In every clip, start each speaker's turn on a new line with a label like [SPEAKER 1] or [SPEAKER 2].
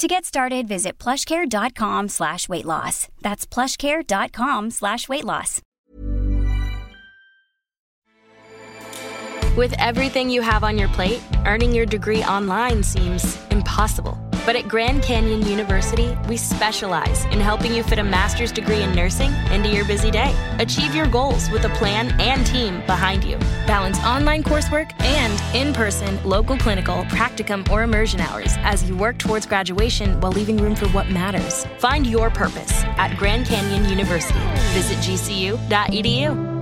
[SPEAKER 1] To get started, visit plushcare.com slash weight loss. That's plushcare.com slash weight loss.
[SPEAKER 2] With everything you have on your plate, earning your degree online seems impossible. But at Grand Canyon University, we specialize in helping you fit a master's degree in nursing into your busy day. Achieve your goals with a plan and team behind you. Balance online coursework and in person, local clinical, practicum, or immersion hours as you work towards graduation while leaving room for what matters. Find your purpose at Grand Canyon University. Visit E gcu.edu.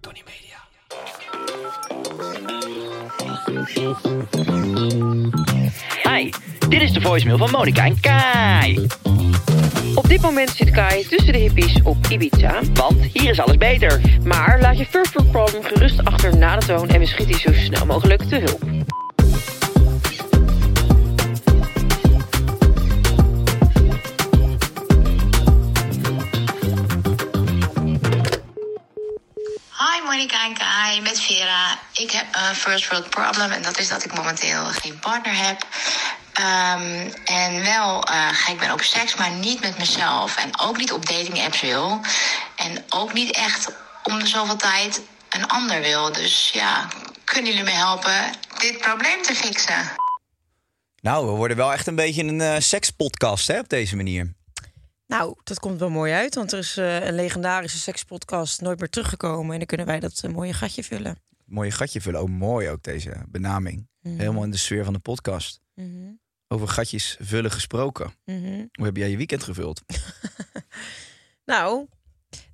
[SPEAKER 3] Tony Media.
[SPEAKER 4] Hi, dit is de voicemail van Monica en Kai.
[SPEAKER 5] Op dit moment zit Kai tussen de hippies op Ibiza.
[SPEAKER 4] Want hier is alles beter.
[SPEAKER 5] Maar laat je First World Problem gerust achter na de toon en we schieten je zo snel mogelijk te hulp.
[SPEAKER 6] Hi Monica en Kai, met Vera. Ik heb een first world problem en dat is dat ik momenteel geen partner heb. Ehm, en wel eh, gek ben op seks, maar niet met mezelf. En ook niet op dating apps wil. En ook niet echt om de zoveel tijd een ander wil. Dus ja, kunnen jullie me helpen dit probleem te fixen?
[SPEAKER 3] Nou, we worden wel echt een beetje een eh, sekspodcast hè, op deze manier.
[SPEAKER 7] Nou, dat komt wel mooi uit, want er is eh, een legendarische sekspodcast nooit meer teruggekomen. En dan kunnen wij dat eh, mooie gatje vullen.
[SPEAKER 3] Mooie gatje vullen. Oh, mooi ook deze benaming. Helemaal in de sfeer van de podcast. Over gatjes vullen gesproken. Hoe heb jij je weekend gevuld?
[SPEAKER 7] Nou,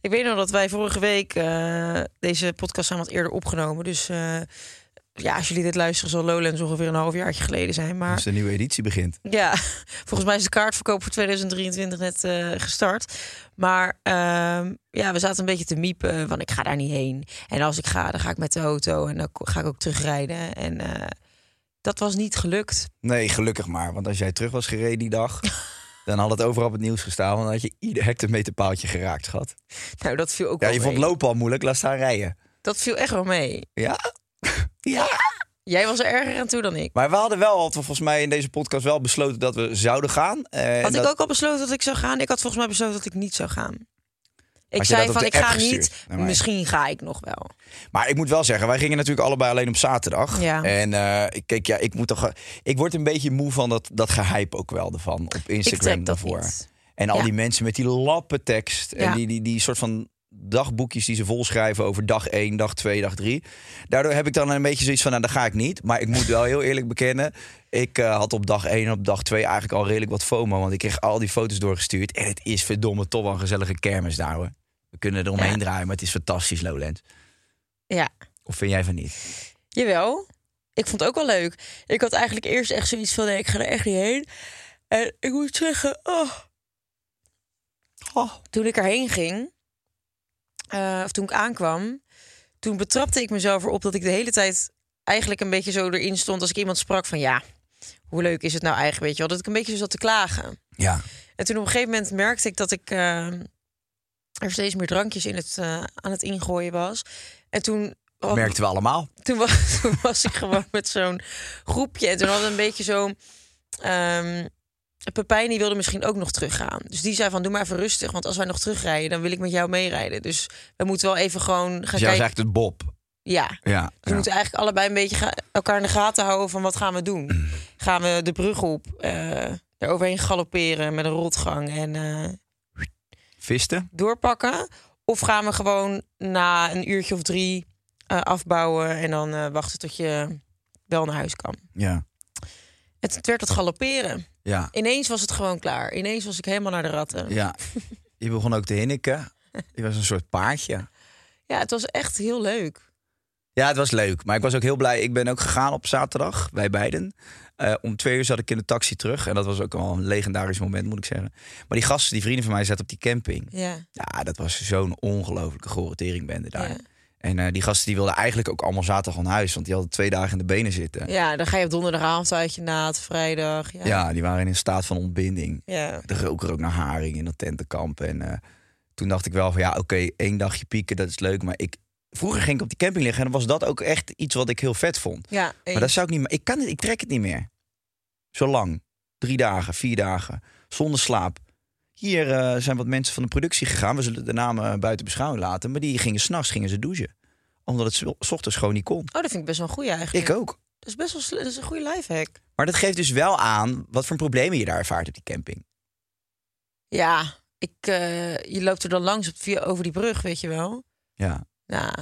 [SPEAKER 7] ik weet nog dat wij vorige week eh, deze podcast zijn wat eerder opgenomen. Dus eh, ja, als jullie dit luisteren, zal Lowlands ongeveer een halfjaartje geleden zijn. Maar
[SPEAKER 3] Als de nieuwe editie begint.
[SPEAKER 7] Ja, volgens mij is de kaartverkoop voor 2023 net eh, gestart. Maar ehm, ja, we zaten een beetje te miepen van ik ga daar niet heen. En als ik ga, dan ga ik met de auto en dan ga ik ook terugrijden. En eh, dat was niet gelukt.
[SPEAKER 3] Nee, gelukkig maar. Want als jij terug was gereden die dag, dan had het overal op het nieuws gestaan. Want dan had je ieder hectometerpaaltje geraakt, schat.
[SPEAKER 7] Nou, dat viel ook
[SPEAKER 3] Ja,
[SPEAKER 7] wel
[SPEAKER 3] je
[SPEAKER 7] mee.
[SPEAKER 3] vond lopen al moeilijk. Laat staan rijden.
[SPEAKER 7] Dat viel echt wel mee.
[SPEAKER 3] Ja? Ja.
[SPEAKER 7] Jij was er erger aan toe dan ik.
[SPEAKER 3] Maar we hadden wel, hadden we volgens mij in deze podcast wel besloten dat we zouden gaan. Eh,
[SPEAKER 7] Had
[SPEAKER 3] dat-
[SPEAKER 7] ik ook al besloten dat ik zou gaan? Ik had volgens mij besloten dat ik niet zou gaan. Ik
[SPEAKER 3] je
[SPEAKER 7] zei
[SPEAKER 3] dat op
[SPEAKER 7] van
[SPEAKER 3] de
[SPEAKER 7] ik
[SPEAKER 3] app
[SPEAKER 7] ga
[SPEAKER 3] gestuurd
[SPEAKER 7] niet,
[SPEAKER 3] naar mij?
[SPEAKER 7] misschien ga ik nog wel.
[SPEAKER 3] Maar ik moet wel zeggen, wij gingen natuurlijk allebei alleen op zaterdag.
[SPEAKER 7] Ja.
[SPEAKER 3] En eh, kijk, ja, ik moet toch. Ik word een beetje moe van dat, dat gehype ook wel ervan op Instagram
[SPEAKER 7] trek dat
[SPEAKER 3] daarvoor.
[SPEAKER 7] niet.
[SPEAKER 3] En al
[SPEAKER 7] Ja.
[SPEAKER 3] die mensen met die lappe tekst en
[SPEAKER 7] Ja.
[SPEAKER 3] die, die, die soort van dagboekjes die ze volschrijven over dag 1, dag 2, dag 3. Daardoor heb ik dan een beetje zoiets van, nou, dat ga ik niet. Maar ik moet wel heel eerlijk bekennen, ik eh, had op dag 1 en op dag 2 eigenlijk al redelijk wat FOMO. Want ik kreeg al die foto's doorgestuurd en het is verdomme toch wel een gezellige kermis daar hoor. We kunnen er omheen
[SPEAKER 7] Ja.
[SPEAKER 3] draaien, maar het is fantastisch Lowland.
[SPEAKER 7] Ja.
[SPEAKER 3] Of vind jij van niet?
[SPEAKER 7] Jawel. Ik vond het ook wel leuk. Ik had eigenlijk eerst echt zoiets van, nee, ik ga er echt niet heen. En ik moet zeggen, oh. Oh, toen ik erheen ging, eh, of toen ik aankwam, toen betrapte ik mezelf erop dat ik de hele tijd eigenlijk een beetje zo erin stond als ik iemand sprak van, ja, hoe leuk is het nou eigenlijk, weet je wel. Dat ik een beetje zo zat te klagen.
[SPEAKER 3] Ja.
[SPEAKER 7] En toen op een gegeven moment merkte ik dat ik eh, er steeds meer drankjes in het, eh, aan het ingooien was. En toen... had-
[SPEAKER 3] Merkten we allemaal.
[SPEAKER 7] toen was, toen was ik gewoon met zo'n groepje. En toen hadden we een beetje zo'n... ehm Pepijn die wilde misschien ook nog teruggaan. Dus die zei van, doe maar even rustig. Want als wij nog terugrijden, dan wil ik met jou meerijden. Dus we moeten wel even gewoon gaan
[SPEAKER 3] Dus jij was
[SPEAKER 7] kijken.
[SPEAKER 3] eigenlijk het Bob.
[SPEAKER 7] Ja, dus
[SPEAKER 3] Ja.
[SPEAKER 7] we moeten eigenlijk allebei een beetje ga- elkaar in de gaten houden... van wat gaan we
[SPEAKER 3] Mm.
[SPEAKER 7] doen? Gaan we de brug op, eh, er overheen galopperen met een rotgang en... eh,
[SPEAKER 3] Visten?
[SPEAKER 7] doorpakken? Of gaan we gewoon na een uurtje of drie eh, afbouwen en dan eh, wachten tot je wel naar huis kan?
[SPEAKER 3] Ja.
[SPEAKER 7] Het werd het galopperen.
[SPEAKER 3] Ja.
[SPEAKER 7] Ineens was het gewoon klaar. Ineens was ik helemaal naar de ratten. Ja,
[SPEAKER 3] ja. Je begon ook te hinniken. Je was een soort paardje.
[SPEAKER 7] het was echt heel leuk.
[SPEAKER 3] Ja, het was leuk. Maar ik was ook heel blij. Ik ben ook gegaan op zaterdag, wij beiden. Eh, om twee uur zat ik in de taxi terug. En dat was ook al een legendarisch moment, moet ik zeggen. Maar die gasten, die vrienden van mij, zaten op die camping.
[SPEAKER 7] Ja.
[SPEAKER 3] Ja, dat was zo'n ongelofelijke gore teringbende daar.
[SPEAKER 7] Ja.
[SPEAKER 3] En eh, die gasten die wilden eigenlijk ook allemaal zaterdag al naar huis. Want die hadden twee dagen in de benen zitten.
[SPEAKER 7] ja, dan ga je op donderdagavond uit je naad, vrijdag. Ja.
[SPEAKER 3] Ja, die waren in een staat van ontbinding.
[SPEAKER 7] Ja.
[SPEAKER 3] De roker ook naar haring in dat tentenkamp. En eh, toen dacht ik wel van ja, oké, één dagje pieken, dat is leuk. Maar ik, vroeger ging ik op die camping liggen en dan was dat ook echt iets wat ik heel vet vond.
[SPEAKER 7] Ja,
[SPEAKER 3] Maar dat zou ik niet meer. Ik, kan het, ik trek het niet meer. Zo lang. Drie dagen, vier dagen. Zonder slaap. Hier eh, zijn wat mensen van de productie gegaan. We zullen de namen eh, buiten beschouwing laten. Maar die gingen s'nachts gingen ze douchen. Omdat het 's wel- 's ochtends gewoon niet kon.
[SPEAKER 7] Oh, dat vind ik best wel een goeie eigenlijk.
[SPEAKER 3] Ik ook.
[SPEAKER 7] Dat is best wel sli- dat is een goede lifehack.
[SPEAKER 3] Maar dat geeft dus wel aan wat voor problemen je daar ervaart op die camping.
[SPEAKER 7] Ja, ik, eh, je loopt er dan langs op, via, over die brug, weet je wel.
[SPEAKER 3] Ja.
[SPEAKER 7] Nou,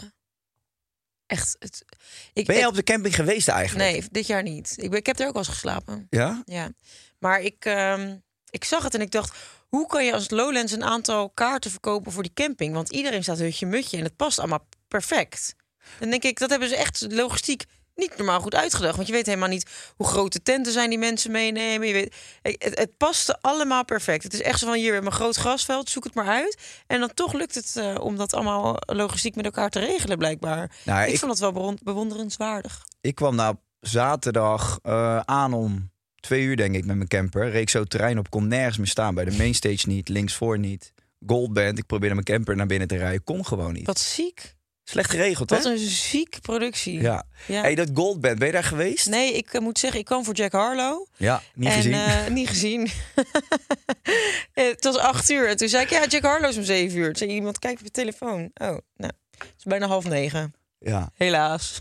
[SPEAKER 7] echt. Het, ik,
[SPEAKER 3] Ben jij
[SPEAKER 7] ik-
[SPEAKER 3] op de camping geweest eigenlijk?
[SPEAKER 7] Nee, dit jaar niet. Ik, ben, ik heb er ook wel eens geslapen.
[SPEAKER 3] Ja?
[SPEAKER 7] Ja. Maar ik, ehm, ik zag het en ik dacht... hoe kan je als Lowlands een aantal kaarten verkopen voor die camping? Want iedereen staat hutje-mutje en het past allemaal perfect. Dan denk ik, dat hebben ze echt logistiek niet normaal goed uitgedacht. Want je weet helemaal niet hoe groot de tenten zijn die mensen meenemen. Je weet, eh, het, het paste allemaal perfect. Het is echt zo van, hier, we hebben een groot grasveld, zoek het maar uit. En dan toch lukt het eh, om dat allemaal logistiek met elkaar te regelen, blijkbaar.
[SPEAKER 3] Nou,
[SPEAKER 7] ik,
[SPEAKER 3] ik-
[SPEAKER 7] vond dat wel bewon- bewonderenswaardig.
[SPEAKER 3] Ik kwam nou zaterdag eh, aan om twee uur, denk ik, met mijn camper. Reek zo het terrein op, kon nergens meer staan. Bij de mainstage niet, linksvoor niet. Goldband, ik probeerde mijn camper naar binnen te rijden. Kon gewoon niet.
[SPEAKER 7] Wat ziek.
[SPEAKER 3] Slecht geregeld, hè?
[SPEAKER 7] Wat een ziek productie.
[SPEAKER 3] Ja. Hey, dat Goldband, ben je daar geweest?
[SPEAKER 7] Nee, ik eh, moet zeggen, ik kwam voor Jack Harlow.
[SPEAKER 3] Ja, niet
[SPEAKER 7] en,
[SPEAKER 3] gezien.
[SPEAKER 7] eh, niet gezien. Eh, Het was acht uur. En toen zei ik, ja, Jack Harlow is om zeven uur. Toen zei iemand, kijk op je telefoon. Oh, nou, het is bijna half negen.
[SPEAKER 3] Ja,
[SPEAKER 7] Helaas.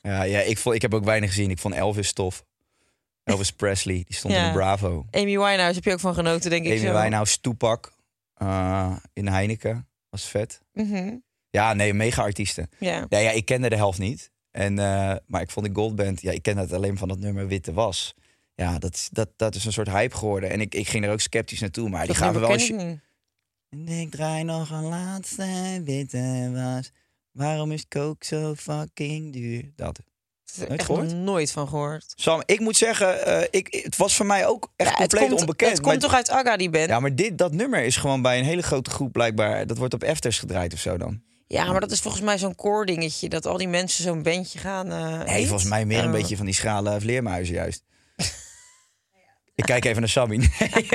[SPEAKER 3] ja, ja ik, vond, ik heb ook weinig gezien. Ik vond Elvis tof. Elvis Presley, die stond
[SPEAKER 7] Ja.
[SPEAKER 3] in de Bravo.
[SPEAKER 7] Amy Winehouse heb je ook van genoten, denk ik.
[SPEAKER 3] Amy
[SPEAKER 7] zo.
[SPEAKER 3] Winehouse, Toepak eh, in Heineken. Was vet.
[SPEAKER 7] Mhm,
[SPEAKER 3] Ja, nee, mega artiesten.
[SPEAKER 7] Ja.
[SPEAKER 3] Nou ja, ik kende de helft niet. En, eh, maar ik vond de Goldband, ja, ik kende het alleen van dat nummer Witte Was. Ja, dat is, dat, dat is een soort hype geworden. En ik, ik ging er ook sceptisch naartoe, maar die
[SPEAKER 7] Dat
[SPEAKER 3] gaven
[SPEAKER 7] nummer
[SPEAKER 3] wel...
[SPEAKER 7] ken ik
[SPEAKER 3] een
[SPEAKER 7] niet.
[SPEAKER 3] sh- En ik draai nog een laatste Witte Was. Waarom is coke zo fucking duur? Dat.
[SPEAKER 7] Het is
[SPEAKER 3] Nooit
[SPEAKER 7] echt
[SPEAKER 3] gehoord?
[SPEAKER 7] nog nooit van gehoord.
[SPEAKER 3] Sam, ik moet zeggen, eh, ik, het was voor mij ook echt
[SPEAKER 7] Ja, het
[SPEAKER 3] compleet
[SPEAKER 7] komt,
[SPEAKER 3] onbekend.
[SPEAKER 7] Het
[SPEAKER 3] maar-
[SPEAKER 7] komt toch uit Aga, die band?
[SPEAKER 3] Ja,
[SPEAKER 7] Ja.
[SPEAKER 3] maar dit, dat nummer is gewoon bij een hele grote groep blijkbaar... Dat wordt op Efters gedraaid of zo dan.
[SPEAKER 7] maar dat is volgens mij zo'n koor dingetje. Dat al die mensen zo'n bandje gaan... eh,
[SPEAKER 3] Nee,
[SPEAKER 7] niet?
[SPEAKER 3] volgens mij meer een
[SPEAKER 7] Oh.
[SPEAKER 3] beetje van die schrale vleermuizen juist. Ik kijk even naar Sammy. Nee.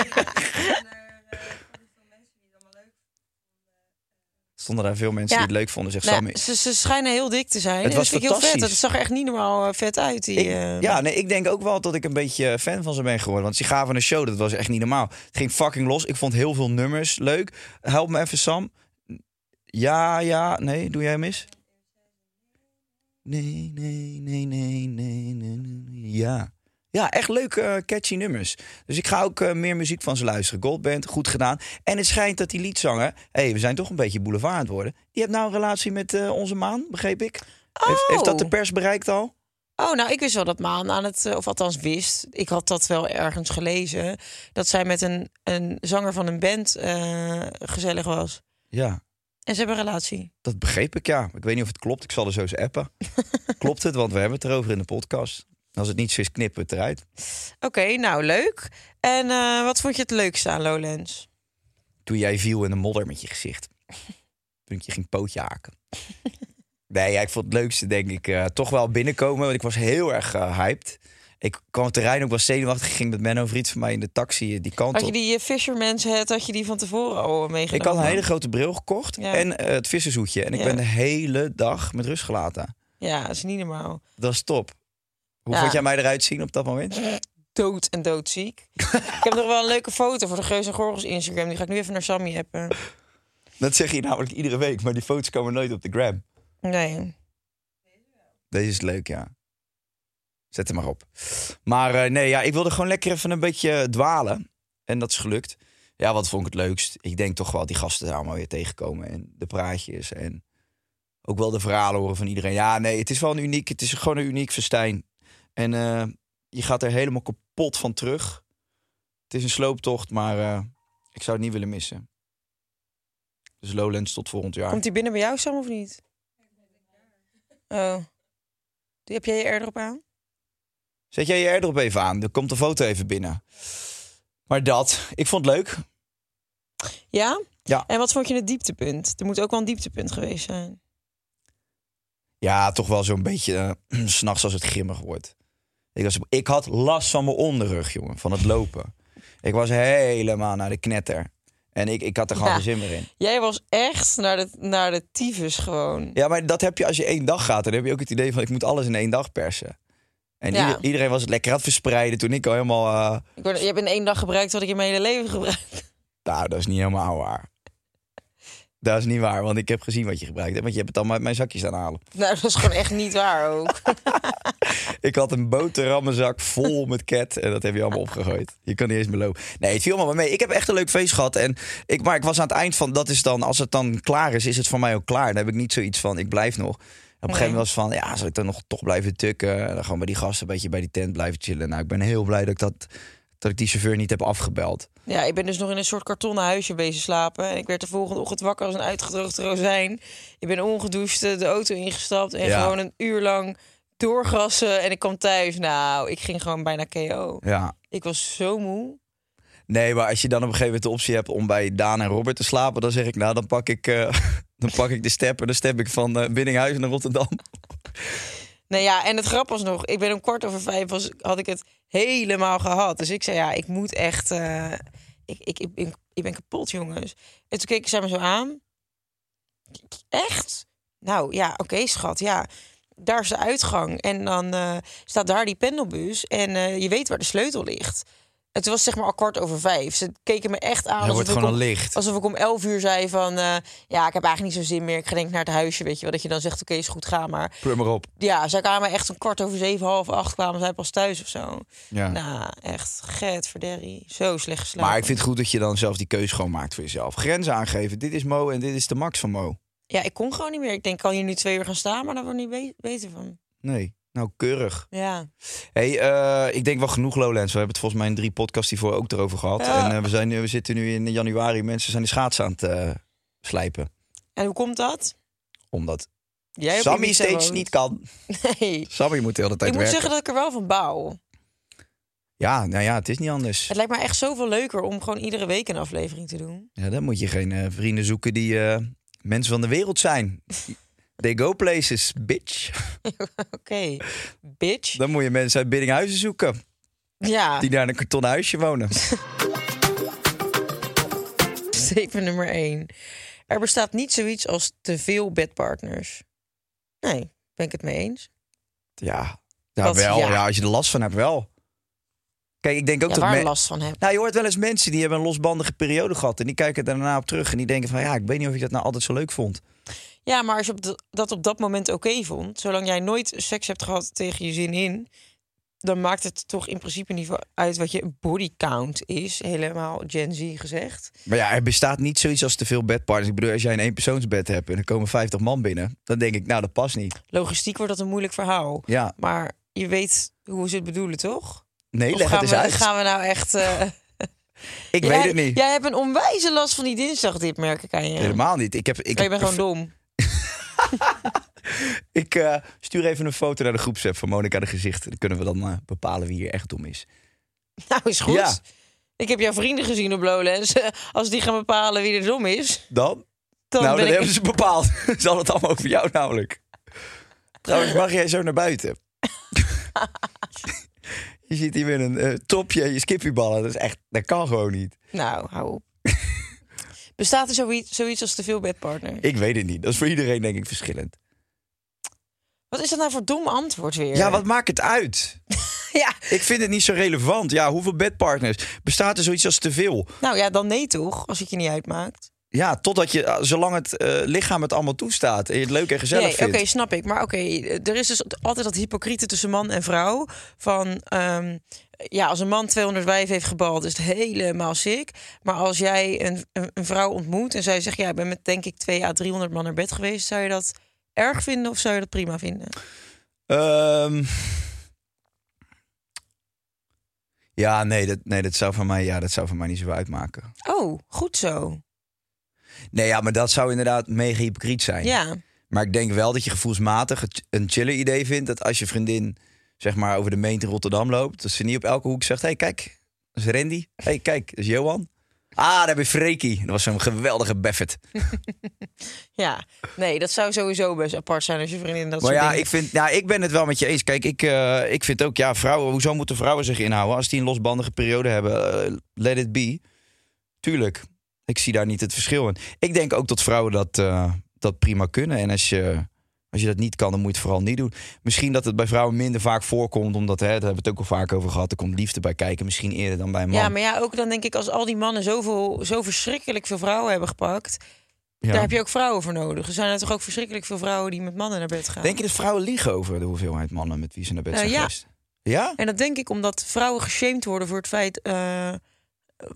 [SPEAKER 3] Stonden daar veel mensen
[SPEAKER 7] Ja.
[SPEAKER 3] die het leuk vonden, zegt
[SPEAKER 7] Nou,
[SPEAKER 3] Sammy.
[SPEAKER 7] ze, ze schijnen heel dik te zijn.
[SPEAKER 3] Het
[SPEAKER 7] En
[SPEAKER 3] was
[SPEAKER 7] dat vind ik heel vet. Dat
[SPEAKER 3] fantastisch.
[SPEAKER 7] zag er echt niet normaal eh, vet uit. Die,
[SPEAKER 3] Ik-
[SPEAKER 7] eh,
[SPEAKER 3] ja, nee, ik denk ook wel dat ik een beetje fan van ze ben geworden. Want ze gaven een show, dat was echt niet normaal. Het ging fucking los. Ik vond heel veel nummers leuk. Help me even, Sam. Ja, ja, nee, doe jij hem eens? Nee, nee, nee, nee, nee, nee, nee. Ja. Ja, echt leuke eh, catchy nummers. Dus ik ga ook eh, meer muziek van ze luisteren. Goldband, goed gedaan. En het schijnt dat die liedzanger... Hé, hey, we zijn toch een beetje boulevard aan het worden. Die heeft nou een relatie met eh, onze maan, begreep ik. Heeft, heeft dat de
[SPEAKER 7] Oh.
[SPEAKER 3] pers bereikt al?
[SPEAKER 7] Oh, nou, ik wist wel dat Maan aan het... eh, Of althans wist. Ik had dat wel ergens gelezen. Dat zij met een, een zanger van een band eh, gezellig was.
[SPEAKER 3] Ja,
[SPEAKER 7] En ze hebben een relatie.
[SPEAKER 3] dat begreep ik ja. Ik weet niet of het klopt. Ik zal er zo eens appen. klopt het? Want we hebben het erover in de podcast. Als het niet zo is, knippen we het eruit.
[SPEAKER 7] Oké, nou, leuk. En eh, wat vond je het leukste aan Lowlands?
[SPEAKER 3] Toen jij viel in de modder met je gezicht. Toen ik je ging pootje haken. Nee, ja, ik vond het leukste denk ik eh, toch wel binnenkomen. Want ik was heel erg eh, hyped. Ik kwam het terrein ook wel zenuwachtig. Ik ging met Menno Vriend van mij in de taxi eh, die kant
[SPEAKER 7] Had je
[SPEAKER 3] op.
[SPEAKER 7] die eh, Fisherman's hat, had je die van tevoren al eh, meegenomen?
[SPEAKER 3] Ik had een hele grote bril gekocht.
[SPEAKER 7] Ja.
[SPEAKER 3] En eh, het vissershoedje. En ik
[SPEAKER 7] Ja.
[SPEAKER 3] ben de hele dag met rust gelaten.
[SPEAKER 7] Ja, dat is niet normaal.
[SPEAKER 3] Dat is top. Hoe
[SPEAKER 7] Ja.
[SPEAKER 3] vond jij mij eruit zien op dat moment?
[SPEAKER 7] Dood en doodziek. ik heb nog wel een leuke foto voor de Geus en Gorgels Instagram. Die ga ik nu even naar Sammy appen.
[SPEAKER 3] Dat zeg je namelijk iedere week, maar die foto's komen nooit op de gram.
[SPEAKER 7] Nee.
[SPEAKER 3] Deze is leuk, ja. Zet hem maar op. Maar eh, nee, ja, ik wilde gewoon lekker even een beetje dwalen. En dat is gelukt. Ja, wat vond ik het leukst? Ik denk toch wel die gasten daar allemaal weer tegenkomen. En de praatjes en ook wel de verhalen horen van iedereen. Ja, nee, het is wel een uniek, het is gewoon een uniek festijn. En eh, je gaat er helemaal kapot van terug. Het is een slooptocht, maar eh, ik zou het niet willen missen. Dus Lowlands tot volgend jaar.
[SPEAKER 7] Komt die binnen bij jou, Sam, of niet? Oh. Die heb jij je airdrop aan?
[SPEAKER 3] Zet jij je airdrop even aan, dan komt de foto even binnen. Maar dat, ik vond het leuk.
[SPEAKER 7] Ja?
[SPEAKER 3] Ja.
[SPEAKER 7] En wat vond je het dieptepunt? Er moet ook wel een dieptepunt geweest zijn.
[SPEAKER 3] Ja, toch wel zo'n beetje eh, 's s'nachts als het grimmig wordt. Ik, was, ik had last van mijn onderrug, jongen, van het lopen. Ik was helemaal naar de knetter. En ik, ik had er gewoon
[SPEAKER 7] Ja.
[SPEAKER 3] geen zin meer in.
[SPEAKER 7] Jij was echt naar de, naar de tyfus gewoon.
[SPEAKER 3] Ja, maar dat heb je als je één dag gaat. Dan heb je ook het idee van ik moet alles in één dag persen. En
[SPEAKER 7] Ja.
[SPEAKER 3] ieder- iedereen was het lekker aan het verspreiden toen ik al helemaal... eh,
[SPEAKER 7] Ik word, je hebt in één dag gebruikt wat ik in mijn hele leven gebruik.
[SPEAKER 3] nou, dat is niet helemaal waar. Dat is niet waar, want ik heb gezien wat je gebruikt hebt. Want je hebt het allemaal uit mijn zakjes aan halen.
[SPEAKER 7] Nou, dat is gewoon echt niet waar ook.
[SPEAKER 3] Ik had een boterhammenzak vol met ket en dat heb je allemaal opgegooid. Je kan niet eens meer lopen. Nee, het viel allemaal mee. Ik heb echt een leuk feest gehad. En ik, maar ik was aan het eind van, dat is dan, als het dan klaar is, is het voor mij ook klaar. Dan heb ik niet zoiets van, ik blijf nog. Op een gegeven moment was het van, ja, zal ik dan nog toch blijven tukken? En dan gewoon bij die gasten een beetje bij die tent blijven chillen. Nou, ik ben heel blij dat ik, dat, dat ik die chauffeur niet heb afgebeld.
[SPEAKER 7] Ja, ik ben dus nog in een soort kartonnen huisje bezig slapen. En ik werd de volgende ochtend wakker als een uitgedroogde rozijn. Ik ben ongedoucht eh, de auto ingestapt en
[SPEAKER 3] Ja.
[SPEAKER 7] gewoon een uur lang doorgrassen. En ik kwam thuis. Nou, ik ging gewoon bijna KO.
[SPEAKER 3] Ja.
[SPEAKER 7] Ik was zo moe.
[SPEAKER 3] Nee, maar als je dan op een gegeven moment de optie hebt om bij Daan en Robert te slapen, dan zeg ik, nou, dan pak ik, eh, dan pak ik de step en dan step ik van eh Binninghuizen naar Rotterdam.
[SPEAKER 7] Nou ja, en het grap was nog, ik ben om kwart over vijf was, had ik het helemaal gehad. Dus ik zei, ja, ik moet echt, eh, ik, ik, ik, ben- ik ben kapot, jongens. En toen keken zij me zo aan. Echt? Nou ja, oké, schat, ja. Daar is de uitgang. En dan eh, staat daar die pendelbus en eh, je weet waar de sleutel ligt. En toen was het zeg maar al kwart over vijf. Ze keken me echt aan.
[SPEAKER 3] Hij
[SPEAKER 7] alsof
[SPEAKER 3] wordt
[SPEAKER 7] ik
[SPEAKER 3] gewoon
[SPEAKER 7] om-
[SPEAKER 3] al licht.
[SPEAKER 7] Alsof ik om 11 uur zei van... eh, ja, ik heb eigenlijk niet zo'n zin meer. Ik ga denk ik naar het huisje, weet je wel. Dat je dan zegt, oké, is goed, ga maar
[SPEAKER 3] Pleur maar op.
[SPEAKER 7] ja, zij kwamen echt om kwart over zeven, half acht kwamen zij pas thuis of zo.
[SPEAKER 3] Ja.
[SPEAKER 7] Nou, echt, get verderrie. Zo slecht geslapen.
[SPEAKER 3] Maar ik vind het goed dat je dan zelf die keuze gewoon maakt voor jezelf. Grenzen aangeven. Dit is Mo en dit is de max van Mo.
[SPEAKER 7] Ja, ik kon gewoon niet meer. Ik denk, ik kan hier nu twee uur gaan staan, maar daar word ik niet be- beter van.
[SPEAKER 3] Nee. Nou, keurig.
[SPEAKER 7] Ja.
[SPEAKER 3] hey, eh, ik denk wel genoeg Lowlands. We hebben het volgens mij in drie podcasts hiervoor ook erover gehad.
[SPEAKER 7] Ja.
[SPEAKER 3] En eh, we, zijn nu, we zitten nu in januari. Mensen zijn de schaats aan het eh, slijpen.
[SPEAKER 7] En hoe komt dat?
[SPEAKER 3] Omdat
[SPEAKER 7] Jij op
[SPEAKER 3] Sammy
[SPEAKER 7] Ibiza
[SPEAKER 3] steeds
[SPEAKER 7] woont.
[SPEAKER 3] niet kan.
[SPEAKER 7] Nee.
[SPEAKER 3] Sammy moet de hele tijd
[SPEAKER 7] Ik moet
[SPEAKER 3] werken.
[SPEAKER 7] zeggen dat ik er wel van bouw.
[SPEAKER 3] Ja, nou ja, het is niet anders.
[SPEAKER 7] Het lijkt me echt zoveel leuker om gewoon iedere week een aflevering te doen.
[SPEAKER 3] Ja, dan moet je geen eh, vrienden zoeken die eh, mensen van de wereld zijn. They go places, bitch.
[SPEAKER 7] Oké, bitch.
[SPEAKER 3] Dan moet je mensen uit Biddinghuizen zoeken.
[SPEAKER 7] Ja,
[SPEAKER 3] Die daar in een kartonnen huisje wonen.
[SPEAKER 7] statement nummer één. Er bestaat niet zoiets als te veel bedpartners. Nee, ben ik het mee eens.
[SPEAKER 3] Ja, ja
[SPEAKER 7] Dat-
[SPEAKER 3] wel. Ja.
[SPEAKER 7] ja.
[SPEAKER 3] als je er last van hebt, wel. Kijk, ik denk ook
[SPEAKER 7] Ja,
[SPEAKER 3] dat...
[SPEAKER 7] waar
[SPEAKER 3] me-
[SPEAKER 7] last van heb.
[SPEAKER 3] Nou, je hoort wel eens mensen die hebben een losbandige periode gehad... en die kijken daarna op terug en die denken van... ja, ik weet niet of ik dat nou altijd zo leuk vond.
[SPEAKER 7] Ja, maar als je op de- dat op dat moment oké vond, zolang jij nooit seks hebt gehad tegen je zin in, dan maakt het toch in principe niet uit wat je bodycount is, helemaal Gen Z gezegd.
[SPEAKER 3] Maar ja, er bestaat niet zoiets als te veel bedpartners. Ik bedoel, als jij een eenpersoonsbed hebt en er komen 50 man binnen... dan denk ik, nou, dat past niet.
[SPEAKER 7] Logistiek wordt dat een moeilijk verhaal,
[SPEAKER 3] Ja,
[SPEAKER 7] maar je weet hoe ze het bedoelen, toch?
[SPEAKER 3] nee,
[SPEAKER 7] Of
[SPEAKER 3] leg
[SPEAKER 7] gaan,
[SPEAKER 3] het eens
[SPEAKER 7] we,
[SPEAKER 3] uit.
[SPEAKER 7] gaan we nou echt? eh,
[SPEAKER 3] Ik
[SPEAKER 7] jij-
[SPEAKER 3] weet het niet.
[SPEAKER 7] Jij hebt een onwijze last van die dinsdag, dit merk ik aan je.
[SPEAKER 3] Helemaal niet. Ik, heb, ik,
[SPEAKER 7] Maar je bent gewoon dom.
[SPEAKER 3] ik eh, stuur even een foto naar de groepsapp van Monica de Gezicht. Dan kunnen we dan eh, bepalen wie hier echt dom is.
[SPEAKER 7] Nou, is goed.
[SPEAKER 3] Ja.
[SPEAKER 7] Ik heb jouw vrienden gezien op Lowlands. Als die gaan bepalen wie er dom is,
[SPEAKER 3] Dan?
[SPEAKER 7] dan
[SPEAKER 3] nou,
[SPEAKER 7] ben
[SPEAKER 3] dat
[SPEAKER 7] ik...
[SPEAKER 3] hebben ze bepaald. Ze hadden het allemaal over jou namelijk. Trouwens, mag jij zo naar buiten? je zit hier met een eh, topje en je skippyballen. Dat is echt, dat kan gewoon niet.
[SPEAKER 7] Nou, hou op. Bestaat er zoiets, zoiets als te veel bedpartner?
[SPEAKER 3] Ik weet het niet. Dat is voor iedereen denk ik verschillend.
[SPEAKER 7] Wat is dat nou voor dom antwoord weer?
[SPEAKER 3] Ja, wat maakt het uit?
[SPEAKER 7] Ja,
[SPEAKER 3] Ik vind het niet zo relevant. Ja, hoeveel bedpartners? Bestaat er zoiets als te veel?
[SPEAKER 7] nou ja, dan nee toch, als het je niet uitmaakt.
[SPEAKER 3] Ja, totdat je, zolang het eh, lichaam het allemaal toestaat en je het leuk en gezellig
[SPEAKER 7] Nee, oké,
[SPEAKER 3] vindt.
[SPEAKER 7] snap ik. Maar oké, er is dus altijd dat hypocriete tussen man en vrouw. Van, ehm, ja, als een man 200 wijven heeft gebald, is het helemaal sick. Maar als jij een, een, een vrouw ontmoet en zij zegt... ja, ik ben met denk ik 2 à 300 man naar bed geweest... zou je dat erg vinden of zou je dat prima vinden?
[SPEAKER 3] Ehm, ja, nee dat, nee, dat zou voor mij, ja, dat zou voor mij niet zo uitmaken.
[SPEAKER 7] Oh, goed zo.
[SPEAKER 3] Nee, ja, maar dat zou inderdaad mega hypocriet zijn.
[SPEAKER 7] Ja,
[SPEAKER 3] Maar ik denk wel dat je gevoelsmatig het- een chiller idee vindt dat als je vriendin zeg maar over de meent in Rotterdam loopt, dat ze niet op elke hoek zegt: hey, kijk, dat is Randy. hey, kijk, dat is Johan. Ah, daar heb je Freekie. Dat was zo'n geweldige Beffet.
[SPEAKER 7] ja. Nee, dat zou sowieso best apart zijn als je vriendin dat
[SPEAKER 3] Maar
[SPEAKER 7] soort
[SPEAKER 3] ja,
[SPEAKER 7] dingen-
[SPEAKER 3] ik, vind, ja, ik ben het wel met je eens. Kijk, ik, eh, ik vind ook, ja, vrouwen, hoezo moeten vrouwen zich inhouden als die een losbandige periode hebben? Eh, let it be. Tuurlijk. Ik zie daar niet het verschil in. Ik denk ook dat vrouwen dat, eh, dat prima kunnen. En als je, als je dat niet kan, dan moet je het vooral niet doen. Misschien dat het bij vrouwen minder vaak voorkomt, omdat, hè, daar hebben we het ook al vaak over gehad, er komt liefde bij kijken, misschien eerder dan bij een man.
[SPEAKER 7] Ja, maar ja, ook dan denk ik als al die mannen zoveel, zo verschrikkelijk veel vrouwen hebben gepakt...
[SPEAKER 3] Ja.
[SPEAKER 7] Daar heb je ook vrouwen voor nodig. Er zijn er toch ook verschrikkelijk veel vrouwen die met mannen naar bed gaan.
[SPEAKER 3] Denk je dat vrouwen liegen over de hoeveelheid mannen met wie ze naar bed
[SPEAKER 7] Eh,
[SPEAKER 3] zijn
[SPEAKER 7] ja.
[SPEAKER 3] geweest? Ja?
[SPEAKER 7] En dat denk ik omdat vrouwen geshamed worden voor het feit eh,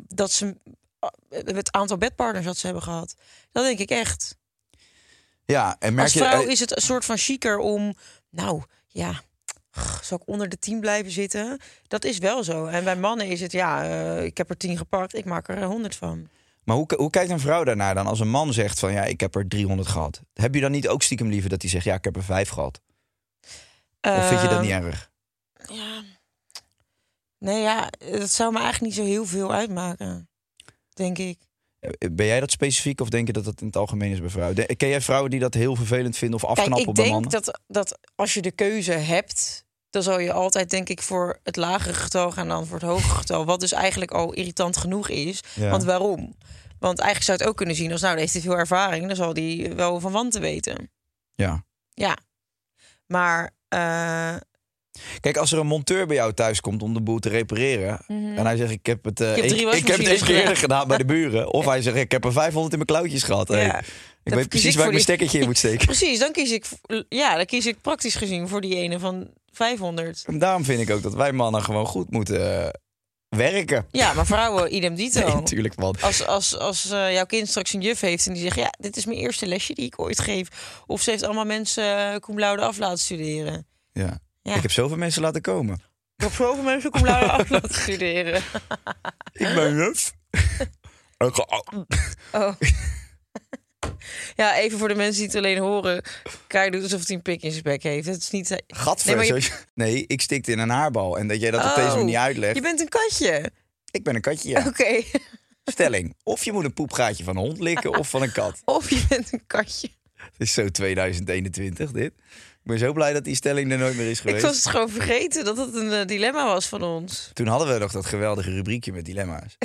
[SPEAKER 7] dat ze eh, het aantal bedpartners dat ze hebben gehad. Dat denk ik echt.
[SPEAKER 3] Ja, en merk
[SPEAKER 7] Als
[SPEAKER 3] je...
[SPEAKER 7] vrouw
[SPEAKER 3] eh,
[SPEAKER 7] is het een soort van chiquer om, nou ja, grr, zal ik onder de tien blijven zitten? Dat is wel zo. En bij mannen is het, ja, eh, ik heb er tien gepakt, ik maak er honderd van.
[SPEAKER 3] Maar hoe, hoe kijkt een vrouw daarnaar dan als een man zegt van ja, ik heb er 300 gehad? Heb je dan niet ook stiekem liever dat hij zegt ja, ik heb er vijf gehad? Of vind je dat
[SPEAKER 7] Ehm,
[SPEAKER 3] niet erg?
[SPEAKER 7] Ja. Nee, ja, dat zou me eigenlijk niet zo heel veel uitmaken, denk ik.
[SPEAKER 3] Eh, Ben jij dat specifiek of denk je dat dat in het algemeen is bij vrouwen? De- Ken jij vrouwen die dat heel vervelend vinden of
[SPEAKER 7] Kijk,
[SPEAKER 3] afknappen
[SPEAKER 7] ik
[SPEAKER 3] bij
[SPEAKER 7] denk
[SPEAKER 3] mannen?
[SPEAKER 7] dat, dat als je de keuze hebt, dan zal je altijd denk ik voor het lagere getal gaan dan voor het hogere getal. Wat dus eigenlijk al irritant genoeg is.
[SPEAKER 3] Ja.
[SPEAKER 7] Want waarom? Want eigenlijk zou je het ook kunnen zien als nou, heeft hij veel ervaring, dan zal die wel van wanten weten.
[SPEAKER 3] Ja.
[SPEAKER 7] Ja. Maar eh,
[SPEAKER 3] Kijk, als er een monteur bij jou thuis komt om de boel te repareren en hij zegt ik heb het, eh,
[SPEAKER 7] heb
[SPEAKER 3] ik,
[SPEAKER 7] Mhm. drie
[SPEAKER 3] ik heb het
[SPEAKER 7] wasmachines
[SPEAKER 3] eens keer eerder
[SPEAKER 7] gedaan.
[SPEAKER 3] gedaan bij de buren, of hij zegt ik heb er 500 in mijn klauwtjes gehad. Hey,
[SPEAKER 7] Ja.
[SPEAKER 3] ik
[SPEAKER 7] Dan
[SPEAKER 3] weet
[SPEAKER 7] kies
[SPEAKER 3] precies
[SPEAKER 7] ik
[SPEAKER 3] waar
[SPEAKER 7] voor
[SPEAKER 3] ik mijn
[SPEAKER 7] die-
[SPEAKER 3] stekkertje in moet steken.
[SPEAKER 7] precies, dan kies ik v- ja, dan kies ik praktisch gezien voor die ene van 500.
[SPEAKER 3] En daarom vind ik ook dat wij mannen gewoon goed moeten eh, werken.
[SPEAKER 7] Ja, maar vrouwen idem dito.
[SPEAKER 3] Nee, natuurlijk man.
[SPEAKER 7] Als, als, als eh, jouw kind straks een juf heeft en die zegt... ja, dit is mijn eerste lesje die ik ooit geef. Of ze heeft allemaal mensen eh cum laude af laten studeren.
[SPEAKER 3] Ja.
[SPEAKER 7] Ja.
[SPEAKER 3] Ik heb zoveel mensen laten komen.
[SPEAKER 7] Ik heb zoveel mensen cum laude af laten studeren.
[SPEAKER 3] Ik ben juf. Ik ga- oh.
[SPEAKER 7] Oh. Ja, even voor de mensen die het alleen horen. Kai doet alsof hij een pik in zijn bek heeft. Het is niet... eh,
[SPEAKER 3] Gadver,
[SPEAKER 7] maar je-
[SPEAKER 3] zoals je- nee, ik stikte in een haarbal. En dat jij dat op
[SPEAKER 7] Oh,
[SPEAKER 3] deze manier uitlegt.
[SPEAKER 7] Je bent een katje.
[SPEAKER 3] Ik ben een katje, ja.
[SPEAKER 7] Oké.
[SPEAKER 3] Stelling. Of je moet een poepgaatje van een hond likken of van een kat.
[SPEAKER 7] Of je bent een katje.
[SPEAKER 3] Het is zo 2021, dit. Ik ben zo blij dat die stelling er nooit meer
[SPEAKER 7] Ik
[SPEAKER 3] is geweest.
[SPEAKER 7] was het gewoon vergeten dat het een eh, dilemma was van ons.
[SPEAKER 3] Toen hadden we nog dat geweldige rubriekje met dilemma's.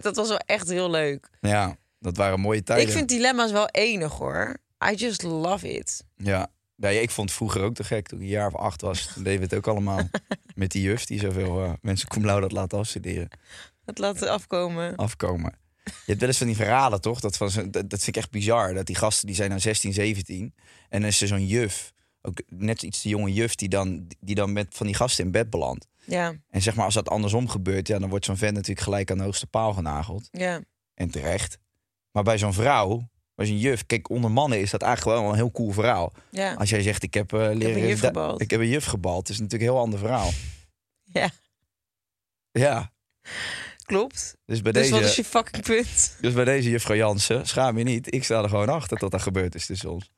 [SPEAKER 7] Dat was wel echt heel leuk.
[SPEAKER 3] Ja, dat waren mooie tijden.
[SPEAKER 7] Ik vind dilemma's wel enig hoor. I just love it.
[SPEAKER 3] Ja. Nee, ik vond het vroeger ook te gek. Toen ik een jaar of acht was, toen deden we het ook allemaal. Met die juf die zoveel eh, mensen cum laude had laten afstuderen.
[SPEAKER 7] Het laten afkomen.
[SPEAKER 3] afkomen. Je hebt wel eens van die verhalen, toch? Dat, van zo'n- dat, dat vind ik echt bizar. Dat die gasten, die zijn dan 16, 17. En dan is er zo'n juf, ook net iets te jonge juf... die dan, die dan met van die gasten in bed belandt.
[SPEAKER 7] Ja,
[SPEAKER 3] En zeg maar, als dat andersom gebeurt... Ja, dan wordt zo'n vent natuurlijk gelijk aan de hoogste paal genageld.
[SPEAKER 7] ja.
[SPEAKER 3] En terecht. Maar bij zo'n vrouw, bij zo'n juf... Kijk, onder mannen is dat eigenlijk wel een heel cool verhaal.
[SPEAKER 7] Ja.
[SPEAKER 3] Als jij zegt, ik heb, eh, leren,
[SPEAKER 7] een juf
[SPEAKER 3] da-
[SPEAKER 7] gebald.
[SPEAKER 3] Ik heb een juf gebald. is natuurlijk een heel ander verhaal.
[SPEAKER 7] ja.
[SPEAKER 3] Ja,
[SPEAKER 7] Klopt.
[SPEAKER 3] dus bij
[SPEAKER 7] dus
[SPEAKER 3] deze...
[SPEAKER 7] wat is je fucking punt?
[SPEAKER 3] Dus bij deze juffrouw Jansen, schaam je niet. Ik sta er gewoon achter dat dat gebeurd is tussen ons.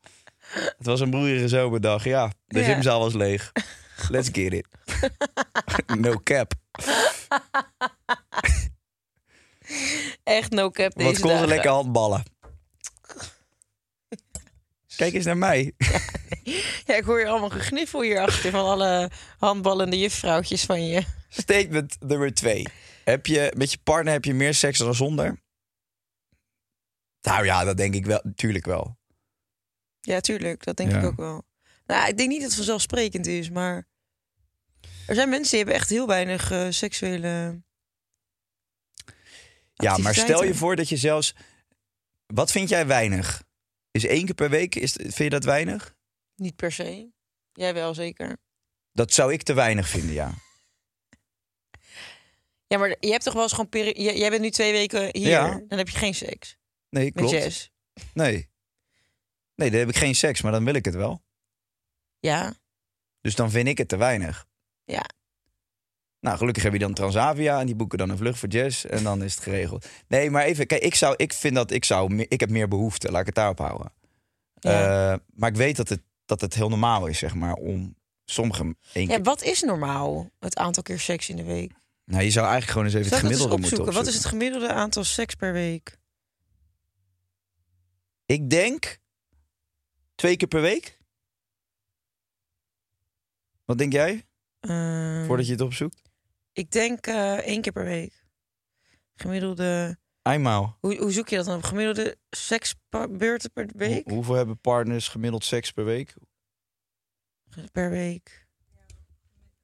[SPEAKER 3] Het was een broeierige zomerdag. Ja, de
[SPEAKER 7] Ja.
[SPEAKER 3] gymzaal was leeg. Let's get it. no cap.
[SPEAKER 7] Echt no cap deze
[SPEAKER 3] Wat kon ze
[SPEAKER 7] dagen.
[SPEAKER 3] lekker handballen. Kijk eens naar mij.
[SPEAKER 7] Ja, ik hoor je allemaal gegniffel hierachter van alle handballende juffrouwtjes van je.
[SPEAKER 3] Statement nummer twee. Heb je, met je partner heb je meer seks dan zonder? Nou ja, dat denk ik wel. Tuurlijk wel.
[SPEAKER 7] Ja, tuurlijk. Dat denk
[SPEAKER 3] Ja.
[SPEAKER 7] ik ook wel. Nou, ik denk niet dat het vanzelfsprekend is, maar... Er zijn mensen die hebben echt heel weinig eh, seksuele...
[SPEAKER 3] Ja, maar stel je
[SPEAKER 7] activiteiten.
[SPEAKER 3] voor dat je zelfs Wat vind jij weinig? Is één keer per week, is, vind je dat weinig?
[SPEAKER 7] Niet per se. Jij wel zeker.
[SPEAKER 3] Dat zou ik te weinig vinden, ja.
[SPEAKER 7] Ja, maar je hebt toch wel eens gewoon... peri- J- Jij bent nu twee weken hier.
[SPEAKER 3] Ja.
[SPEAKER 7] Dan heb je geen seks.
[SPEAKER 3] Nee,
[SPEAKER 7] Met
[SPEAKER 3] klopt.
[SPEAKER 7] Jess.
[SPEAKER 3] Nee. Nee, dan heb ik geen seks, maar dan wil ik het wel.
[SPEAKER 7] Ja.
[SPEAKER 3] Dus dan vind ik het te weinig.
[SPEAKER 7] Ja.
[SPEAKER 3] Nou, gelukkig heb je dan Transavia en die boeken dan een vlucht voor Jess en dan is het geregeld. Nee, maar even, kijk, ik zou, ik vind dat ik zou, me- ik heb meer behoefte, laat ik het daarop houden.
[SPEAKER 7] Ja.
[SPEAKER 3] Eh, maar ik weet dat het, dat het heel normaal is, zeg maar, om sommige één
[SPEAKER 7] ja,
[SPEAKER 3] keer.
[SPEAKER 7] wat is normaal? Het aantal keer seks in de week.
[SPEAKER 3] Nou, je zou eigenlijk gewoon eens even
[SPEAKER 7] Zou
[SPEAKER 3] het
[SPEAKER 7] ik dat eens
[SPEAKER 3] gemiddelde moeten
[SPEAKER 7] opzoeken?
[SPEAKER 3] opzoeken.
[SPEAKER 7] Wat is het gemiddelde aantal seks per week?
[SPEAKER 3] Ik denk twee keer per week. Wat denk jij?
[SPEAKER 7] Eh,
[SPEAKER 3] Voordat je het opzoekt?
[SPEAKER 7] Ik denk eh, één keer per week. Gemiddelde...
[SPEAKER 3] Eenmaal.
[SPEAKER 7] Hoe, hoe zoek je dat dan op? Gemiddelde seksbeurten per week?
[SPEAKER 3] Hoe- hoeveel hebben partners gemiddeld seks per week?
[SPEAKER 7] Per week.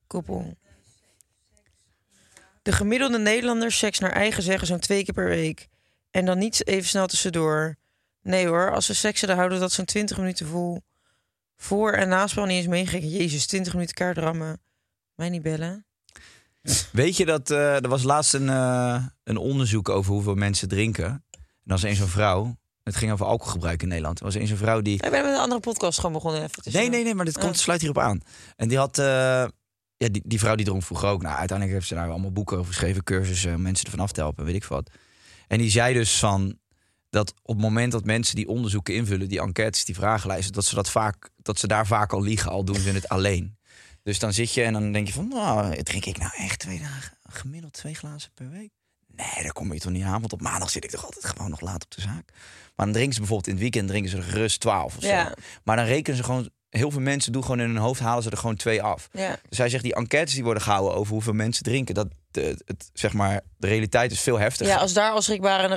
[SPEAKER 7] Koppel. De gemiddelde Nederlander seks naar eigen zeggen zo'n twee keer per week. En dan niet even snel tussendoor. Nee hoor, als ze seksen, dan houden we dat zo'n 20 minuten vol. Voor en naspel niet eens meegekeken. Jezus, 20 minuten kaart rammen. Mij niet bellen.
[SPEAKER 3] Weet je dat eh, er was laatst een, eh, een onderzoek over hoeveel mensen drinken? En dan was eens een vrouw. Het ging over alcoholgebruik in Nederland. Er was eens een vrouw die.
[SPEAKER 7] Ik ben met een andere podcast gewoon begonnen. Even
[SPEAKER 3] Nee,
[SPEAKER 7] tussendoor.
[SPEAKER 3] nee, nee, maar dit komt,
[SPEAKER 7] Oh.
[SPEAKER 3] sluit hierop aan. En die had. eh, ja, die, die vrouw die dronk vroeger ook. Nou, uiteindelijk heeft ze daar allemaal boeken over geschreven, cursussen, om mensen ervan af te helpen, weet ik veel wat. En die zei dus van dat op het moment dat mensen die onderzoeken invullen, die enquêtes, die vragenlijsten, dat ze dat vaak, dat ze daar vaak al liegen, al doen ze het alleen. Dus dan zit je en dan denk je van, nou, drink ik nou echt twee dagen, gemiddeld twee glazen per week? Nee, daar kom je toch niet aan, want op maandag zit ik toch altijd gewoon nog laat op de zaak. Maar dan drinken ze bijvoorbeeld in het weekend drinken ze er gerust 12 of zo.
[SPEAKER 7] Ja.
[SPEAKER 3] Maar dan rekenen ze gewoon, heel veel mensen doen gewoon in hun hoofd, halen ze er gewoon twee af.
[SPEAKER 7] Ja.
[SPEAKER 3] Dus hij zegt, die enquêtes die worden gehouden over hoeveel mensen drinken, dat eh, het, zeg maar, de realiteit is veel heftiger.
[SPEAKER 7] Ja, als daar al schrikbare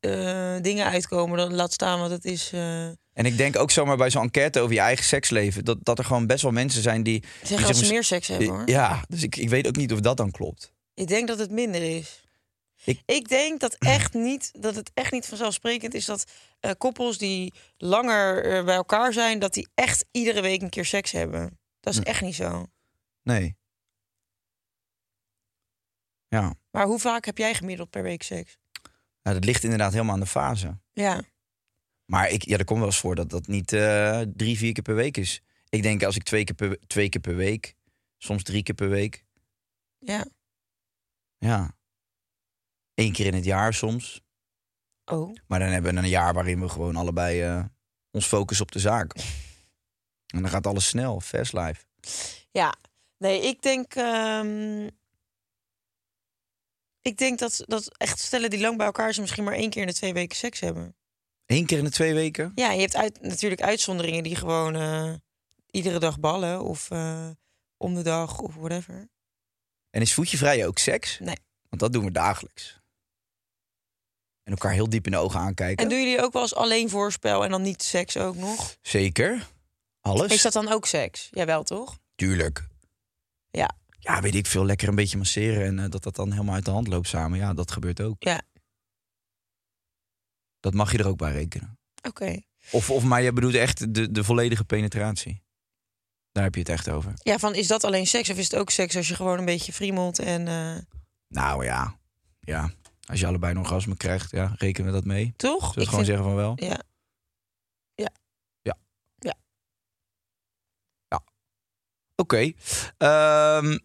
[SPEAKER 7] eh, eh, dingen uitkomen, dan laat staan, want het is... eh,
[SPEAKER 3] En ik denk ook zomaar bij zo'n enquête over je eigen seksleven... dat, dat er gewoon best wel mensen zijn die... die
[SPEAKER 7] Zeggen dat ze
[SPEAKER 3] maar-
[SPEAKER 7] meer seks hebben, hoor.
[SPEAKER 3] Ja, dus ik, ik weet ook niet of dat dan klopt.
[SPEAKER 7] Ik denk dat het minder is.
[SPEAKER 3] Ik-
[SPEAKER 7] Ik, denk dat, echt niet, dat het echt niet vanzelfsprekend is dat eh, koppels die langer eh, bij elkaar zijn, dat die echt iedere week een keer seks hebben. Dat is echt niet zo.
[SPEAKER 3] Nee. Ja,
[SPEAKER 7] Maar hoe vaak heb jij gemiddeld per week seks?
[SPEAKER 3] nou, dat ligt inderdaad helemaal aan de fase.
[SPEAKER 7] Ja,
[SPEAKER 3] Maar ik, ja, er komt wel eens voor dat dat niet eh, drie, vier keer per week is. Ik denk als ik twee keer per, twee keer per week, soms drie keer per week...
[SPEAKER 7] ja.
[SPEAKER 3] Ja. Eén keer in het jaar soms.
[SPEAKER 7] Oh,
[SPEAKER 3] Maar dan hebben we een jaar waarin we gewoon allebei eh, ons focussen op de zaak. En dan gaat alles snel, fast life.
[SPEAKER 7] ja. Nee, ik denk. ehm, ik denk dat, dat echt stellen die lang bij elkaar zijn, misschien maar één keer in de twee weken seks hebben.
[SPEAKER 3] Eén keer in de twee weken?
[SPEAKER 7] Ja, je hebt uit, natuurlijk uitzonderingen die gewoon eh, iedere dag ballen of eh, om de dag of whatever.
[SPEAKER 3] En is voetje vrij ook seks?
[SPEAKER 7] Nee.
[SPEAKER 3] Want dat doen we dagelijks. En elkaar heel diep in de ogen aankijken.
[SPEAKER 7] En doen jullie ook wel eens alleen voorspel en dan niet seks ook nog?
[SPEAKER 3] Zeker. Alles.
[SPEAKER 7] Is dat dan ook seks? Jawel, toch?
[SPEAKER 3] Tuurlijk.
[SPEAKER 7] Ja,
[SPEAKER 3] Ja, weet ik veel. Lekker een beetje masseren en eh, dat dat dan helemaal uit de hand loopt samen. Ja, dat gebeurt ook.
[SPEAKER 7] ja.
[SPEAKER 3] Dat mag je er ook bij rekenen.
[SPEAKER 7] Oké.
[SPEAKER 3] Of, of maar je bedoelt echt de, de volledige penetratie. Daar heb je het echt over.
[SPEAKER 7] Ja, van is dat alleen seks of is het ook seks als je gewoon een beetje friemelt en... eh,
[SPEAKER 3] Nou ja, ja. Als je allebei een orgasme krijgt, ja, rekenen we dat mee. Zullen
[SPEAKER 7] toch?
[SPEAKER 3] we het gewoon zeggen van wel?
[SPEAKER 7] Ja.
[SPEAKER 3] Oké. Ehm,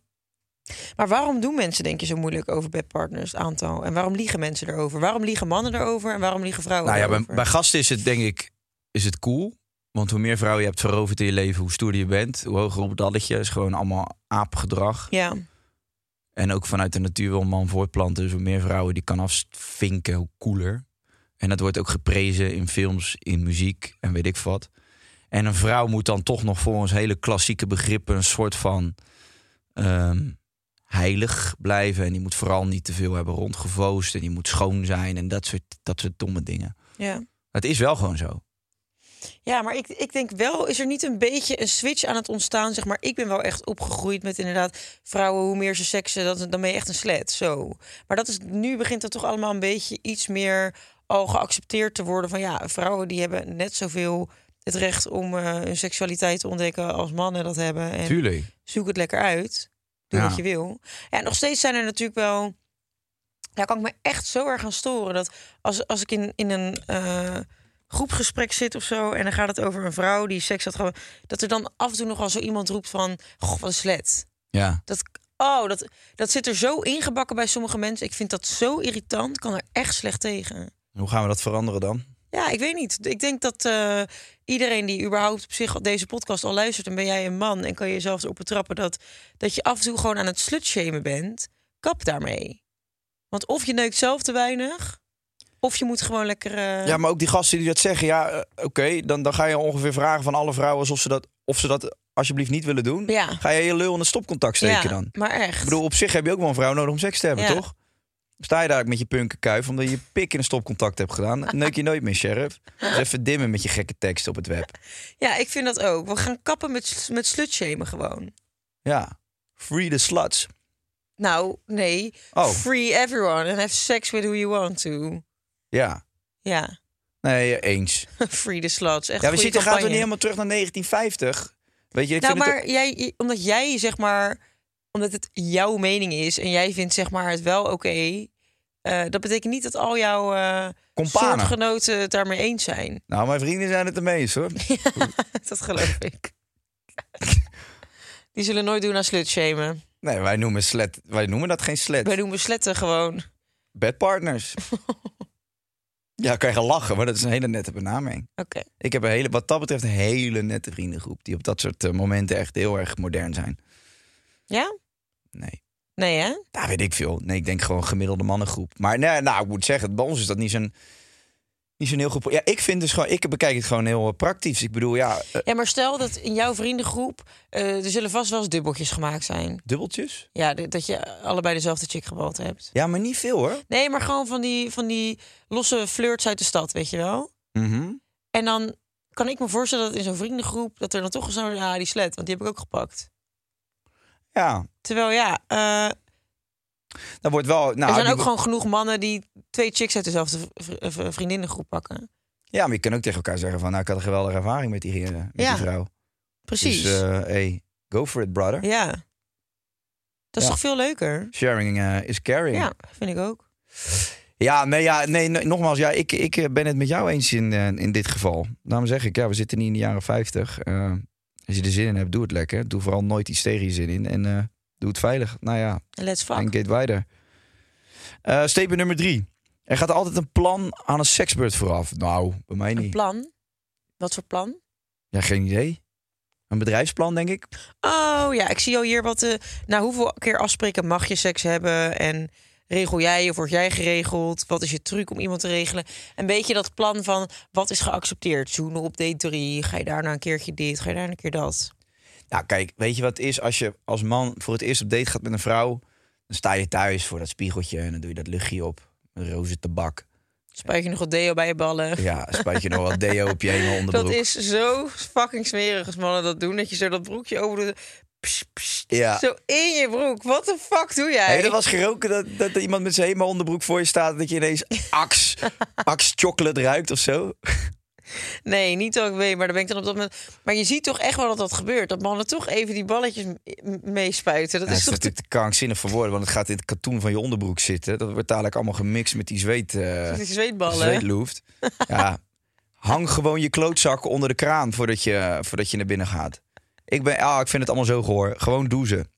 [SPEAKER 7] Maar waarom doen mensen denk je zo moeilijk over bedpartners, het aantal? En waarom liegen mensen erover? Waarom liegen mannen erover en waarom liegen vrouwen
[SPEAKER 3] nou ja, bij,
[SPEAKER 7] erover?
[SPEAKER 3] bij gasten is het denk ik is het cool. Want hoe meer vrouwen je hebt veroverd in je leven, hoe stoerder je bent. Hoe hoger op het alletje is gewoon allemaal aapgedrag.
[SPEAKER 7] Ja,
[SPEAKER 3] En ook vanuit de natuur wil een man voortplanten. Dus hoe meer vrouwen die kan afvinken, hoe cooler. En dat wordt ook geprezen in films, in muziek en weet ik wat. En een vrouw moet dan toch nog volgens hele klassieke begrippen een soort van ehm, heilig blijven. En die moet vooral niet te veel hebben rondgevoost. En die moet schoon zijn en dat soort, dat soort domme dingen.
[SPEAKER 7] ja.
[SPEAKER 3] Het is wel gewoon zo.
[SPEAKER 7] Ja, maar ik, ik denk wel, is er niet een beetje een switch aan het ontstaan? Zeg maar, ik ben wel echt opgegroeid met inderdaad vrouwen, hoe meer ze seksen, dat, dan ben je echt een slet. Zo. Maar dat is, nu begint dat toch allemaal een beetje iets meer al geaccepteerd te worden van ja, vrouwen die hebben net zoveel het recht om eh, hun seksualiteit te ontdekken als mannen dat hebben. En
[SPEAKER 8] Tuurlijk.
[SPEAKER 7] zoek het lekker uit. Doe
[SPEAKER 8] Ja.
[SPEAKER 7] wat je wil. Ja, nog steeds zijn er natuurlijk wel. Daar kan ik me echt zo erg aan storen. Dat als, als ik in, in een eh, groepgesprek zit of zo. en dan gaat het over een vrouw die seks had gehad. dat er dan af en toe nogal zo iemand roept van. Goh, wat een slet.
[SPEAKER 8] Ja.
[SPEAKER 7] Dat, oh, dat, dat zit er zo ingebakken bij sommige mensen. Ik vind dat zo irritant. Ik kan er echt slecht tegen.
[SPEAKER 3] Hoe gaan we dat veranderen dan?
[SPEAKER 7] Ja, ik weet niet. Ik denk dat eh, iedereen die überhaupt op zich deze podcast al luistert... en ben jij een man en kan je jezelf erop betrappen... dat, dat je af en toe gewoon aan het slutshamen bent. Kap daarmee. Want of je neukt zelf te weinig... of je moet gewoon lekker... eh,
[SPEAKER 3] Ja, maar ook die gasten die dat zeggen, ja, eh, oké, dan, dan ga je ongeveer vragen van alle vrouwen alsof ze dat, of ze dat alsjeblieft niet willen doen.
[SPEAKER 7] Ja.
[SPEAKER 3] Ga je je lul in het stopcontact steken
[SPEAKER 7] ja,
[SPEAKER 3] dan?
[SPEAKER 7] maar echt.
[SPEAKER 3] Ik bedoel, op zich heb je ook wel een vrouw nodig om seks te hebben,
[SPEAKER 7] Ja.
[SPEAKER 3] toch? Sta je daar met je punkenkuif omdat je je pik in een stopcontact hebt gedaan? Neuk je nooit meer, sheriff. Dus even dimmen met je gekke tekst op het web.
[SPEAKER 7] Ja, ik vind dat ook. We gaan kappen met, met slutshamen gewoon.
[SPEAKER 3] Ja. Free the sluts.
[SPEAKER 7] Nou, nee.
[SPEAKER 3] Oh.
[SPEAKER 7] Free everyone and have sex with who you want to.
[SPEAKER 3] Ja.
[SPEAKER 7] Ja,
[SPEAKER 3] Nee, eens.
[SPEAKER 7] free the sluts. Echt
[SPEAKER 3] Ja, we
[SPEAKER 7] goede
[SPEAKER 3] zitten gaan we niet
[SPEAKER 7] campagne.
[SPEAKER 3] helemaal terug naar 1950. Weet je, ik
[SPEAKER 7] Nou,
[SPEAKER 3] vind het
[SPEAKER 7] maar jij, je- omdat jij zeg maar, omdat het jouw mening is en jij vindt zeg maar het wel oké, eh, dat betekent niet dat al jouw eh
[SPEAKER 3] Companen.
[SPEAKER 7] soortgenoten het daarmee eens zijn.
[SPEAKER 3] Nou, mijn vrienden zijn het ermee eens, hoor.
[SPEAKER 7] dat geloof ik. Die zullen nooit doen aan slutshamen.
[SPEAKER 3] Nee, wij noemen, slet, wij noemen dat geen slet.
[SPEAKER 7] Wij noemen sletten gewoon.
[SPEAKER 3] Bedpartners. ja, kan je gaan lachen, maar dat is een hele nette benaming.
[SPEAKER 7] Oké.
[SPEAKER 3] Ik heb een hele, wat dat betreft een hele nette vriendengroep... die op dat soort eh, momenten echt heel erg modern zijn.
[SPEAKER 7] Ja?
[SPEAKER 3] Nee,
[SPEAKER 7] Nee, hè?
[SPEAKER 3] daar weet ik veel. Nee, ik denk gewoon gemiddelde mannengroep. Maar nee, nou, ik moet zeggen, bij ons is dat niet zo'n... Niet zo'n heel goed... Ja, ik vind dus gewoon... Ik bekijk het gewoon heel eh, praktisch. Ik bedoel, ja, eh,
[SPEAKER 7] Ja, maar stel dat in jouw vriendengroep eh, er zullen vast wel eens dubbeltjes gemaakt zijn.
[SPEAKER 3] dubbeltjes?
[SPEAKER 7] Ja, d- dat je allebei dezelfde chick gebald hebt.
[SPEAKER 3] Ja, maar niet veel, hoor.
[SPEAKER 7] Nee, maar gewoon van die, van die losse flirts uit de stad, weet je wel?
[SPEAKER 3] Mhm.
[SPEAKER 7] En dan kan ik me voorstellen dat in zo'n vriendengroep... dat er dan toch zo'n... Ja, die slet, want die heb ik ook gepakt.
[SPEAKER 3] Ja,
[SPEAKER 7] Terwijl ja, eh,
[SPEAKER 3] dat wordt wel... Nou,
[SPEAKER 7] er zijn
[SPEAKER 3] die-
[SPEAKER 7] ook gewoon genoeg mannen... die twee chicks uit dezelfde v- v- vriendinnengroep pakken.
[SPEAKER 3] Ja, maar je kan ook tegen elkaar zeggen van... nou, ik had een geweldige ervaring met die heren, met
[SPEAKER 7] Ja,
[SPEAKER 3] die vrouw.
[SPEAKER 7] Precies.
[SPEAKER 3] Dus, eh, hey, go for it, brother.
[SPEAKER 7] ja. Dat is
[SPEAKER 3] Ja.
[SPEAKER 7] toch veel leuker?
[SPEAKER 3] Sharing eh, is caring.
[SPEAKER 7] Ja, vind ik ook.
[SPEAKER 3] Ja, nee, ja, nee nee, nogmaals, ja, ik, ik eh, ben het met jou eens in, eh, in dit geval. Daarom zeg ik, ja, we zitten niet in de jaren 50. Eh, als je er zin in hebt, doe het lekker. Doe vooral nooit iets tegen je zin in. En eh, doe het veilig. Nou ja,
[SPEAKER 7] Let's fuck.
[SPEAKER 3] en get wider. Eh statement nummer drie. Er gaat altijd een plan aan een seksbeurt vooraf. Nou, bij mij
[SPEAKER 7] Een
[SPEAKER 3] niet.
[SPEAKER 7] plan? Wat voor plan?
[SPEAKER 3] Ja, geen idee. Een bedrijfsplan, denk ik.
[SPEAKER 7] Oh ja, ik zie al hier wat... eh nou, hoeveel keer afspreken mag je seks hebben? En regel jij of word jij geregeld? Wat is je truc om iemand te regelen? Een beetje dat plan van wat is geaccepteerd? Zoenen op date 3, ga je daarna een keertje dit, ga je daarna een keer dat?
[SPEAKER 3] Nou, kijk, weet je wat het is? Als je als man voor het eerst op date gaat met een vrouw... dan sta je thuis voor dat spiegeltje en dan doe je dat luchtje op. Een roze tabak.
[SPEAKER 7] Spuit je nog wat deo bij je ballen?
[SPEAKER 3] Ja, spuit je nog wat deo op je hele onderbroek.
[SPEAKER 7] Dat is zo fucking smerig als mannen dat doen. Dat je zo dat broekje over doet. Pss, pss,
[SPEAKER 3] Ja.
[SPEAKER 7] Zo in je broek. Wat de fuck doe jij?
[SPEAKER 3] Hey, dat was geroken dat, dat er iemand met zijn helemaal onderbroek voor je staat... en dat je ineens ax, ax chocolate ruikt of zo.
[SPEAKER 7] Nee, niet dat ik weet, maar dan ben ik dan op dat moment. Maar je ziet toch echt wel dat dat gebeurt. Dat mannen toch even die balletjes m- m- meespuiten. Dat
[SPEAKER 3] Dat
[SPEAKER 7] is
[SPEAKER 3] is
[SPEAKER 7] toch
[SPEAKER 3] natuurlijk te krankzinnig voor woorden... want het gaat in het katoen van je onderbroek zitten. Dat wordt dadelijk allemaal gemixt met die zweet... eh,
[SPEAKER 7] die zweetballen.
[SPEAKER 3] zweetloeft. Ja, hang gewoon je klootzak onder de kraan voordat je, voordat je naar binnen gaat. Ik, ben, ah, ik vind het allemaal zo gehoor. Gewoon douzen.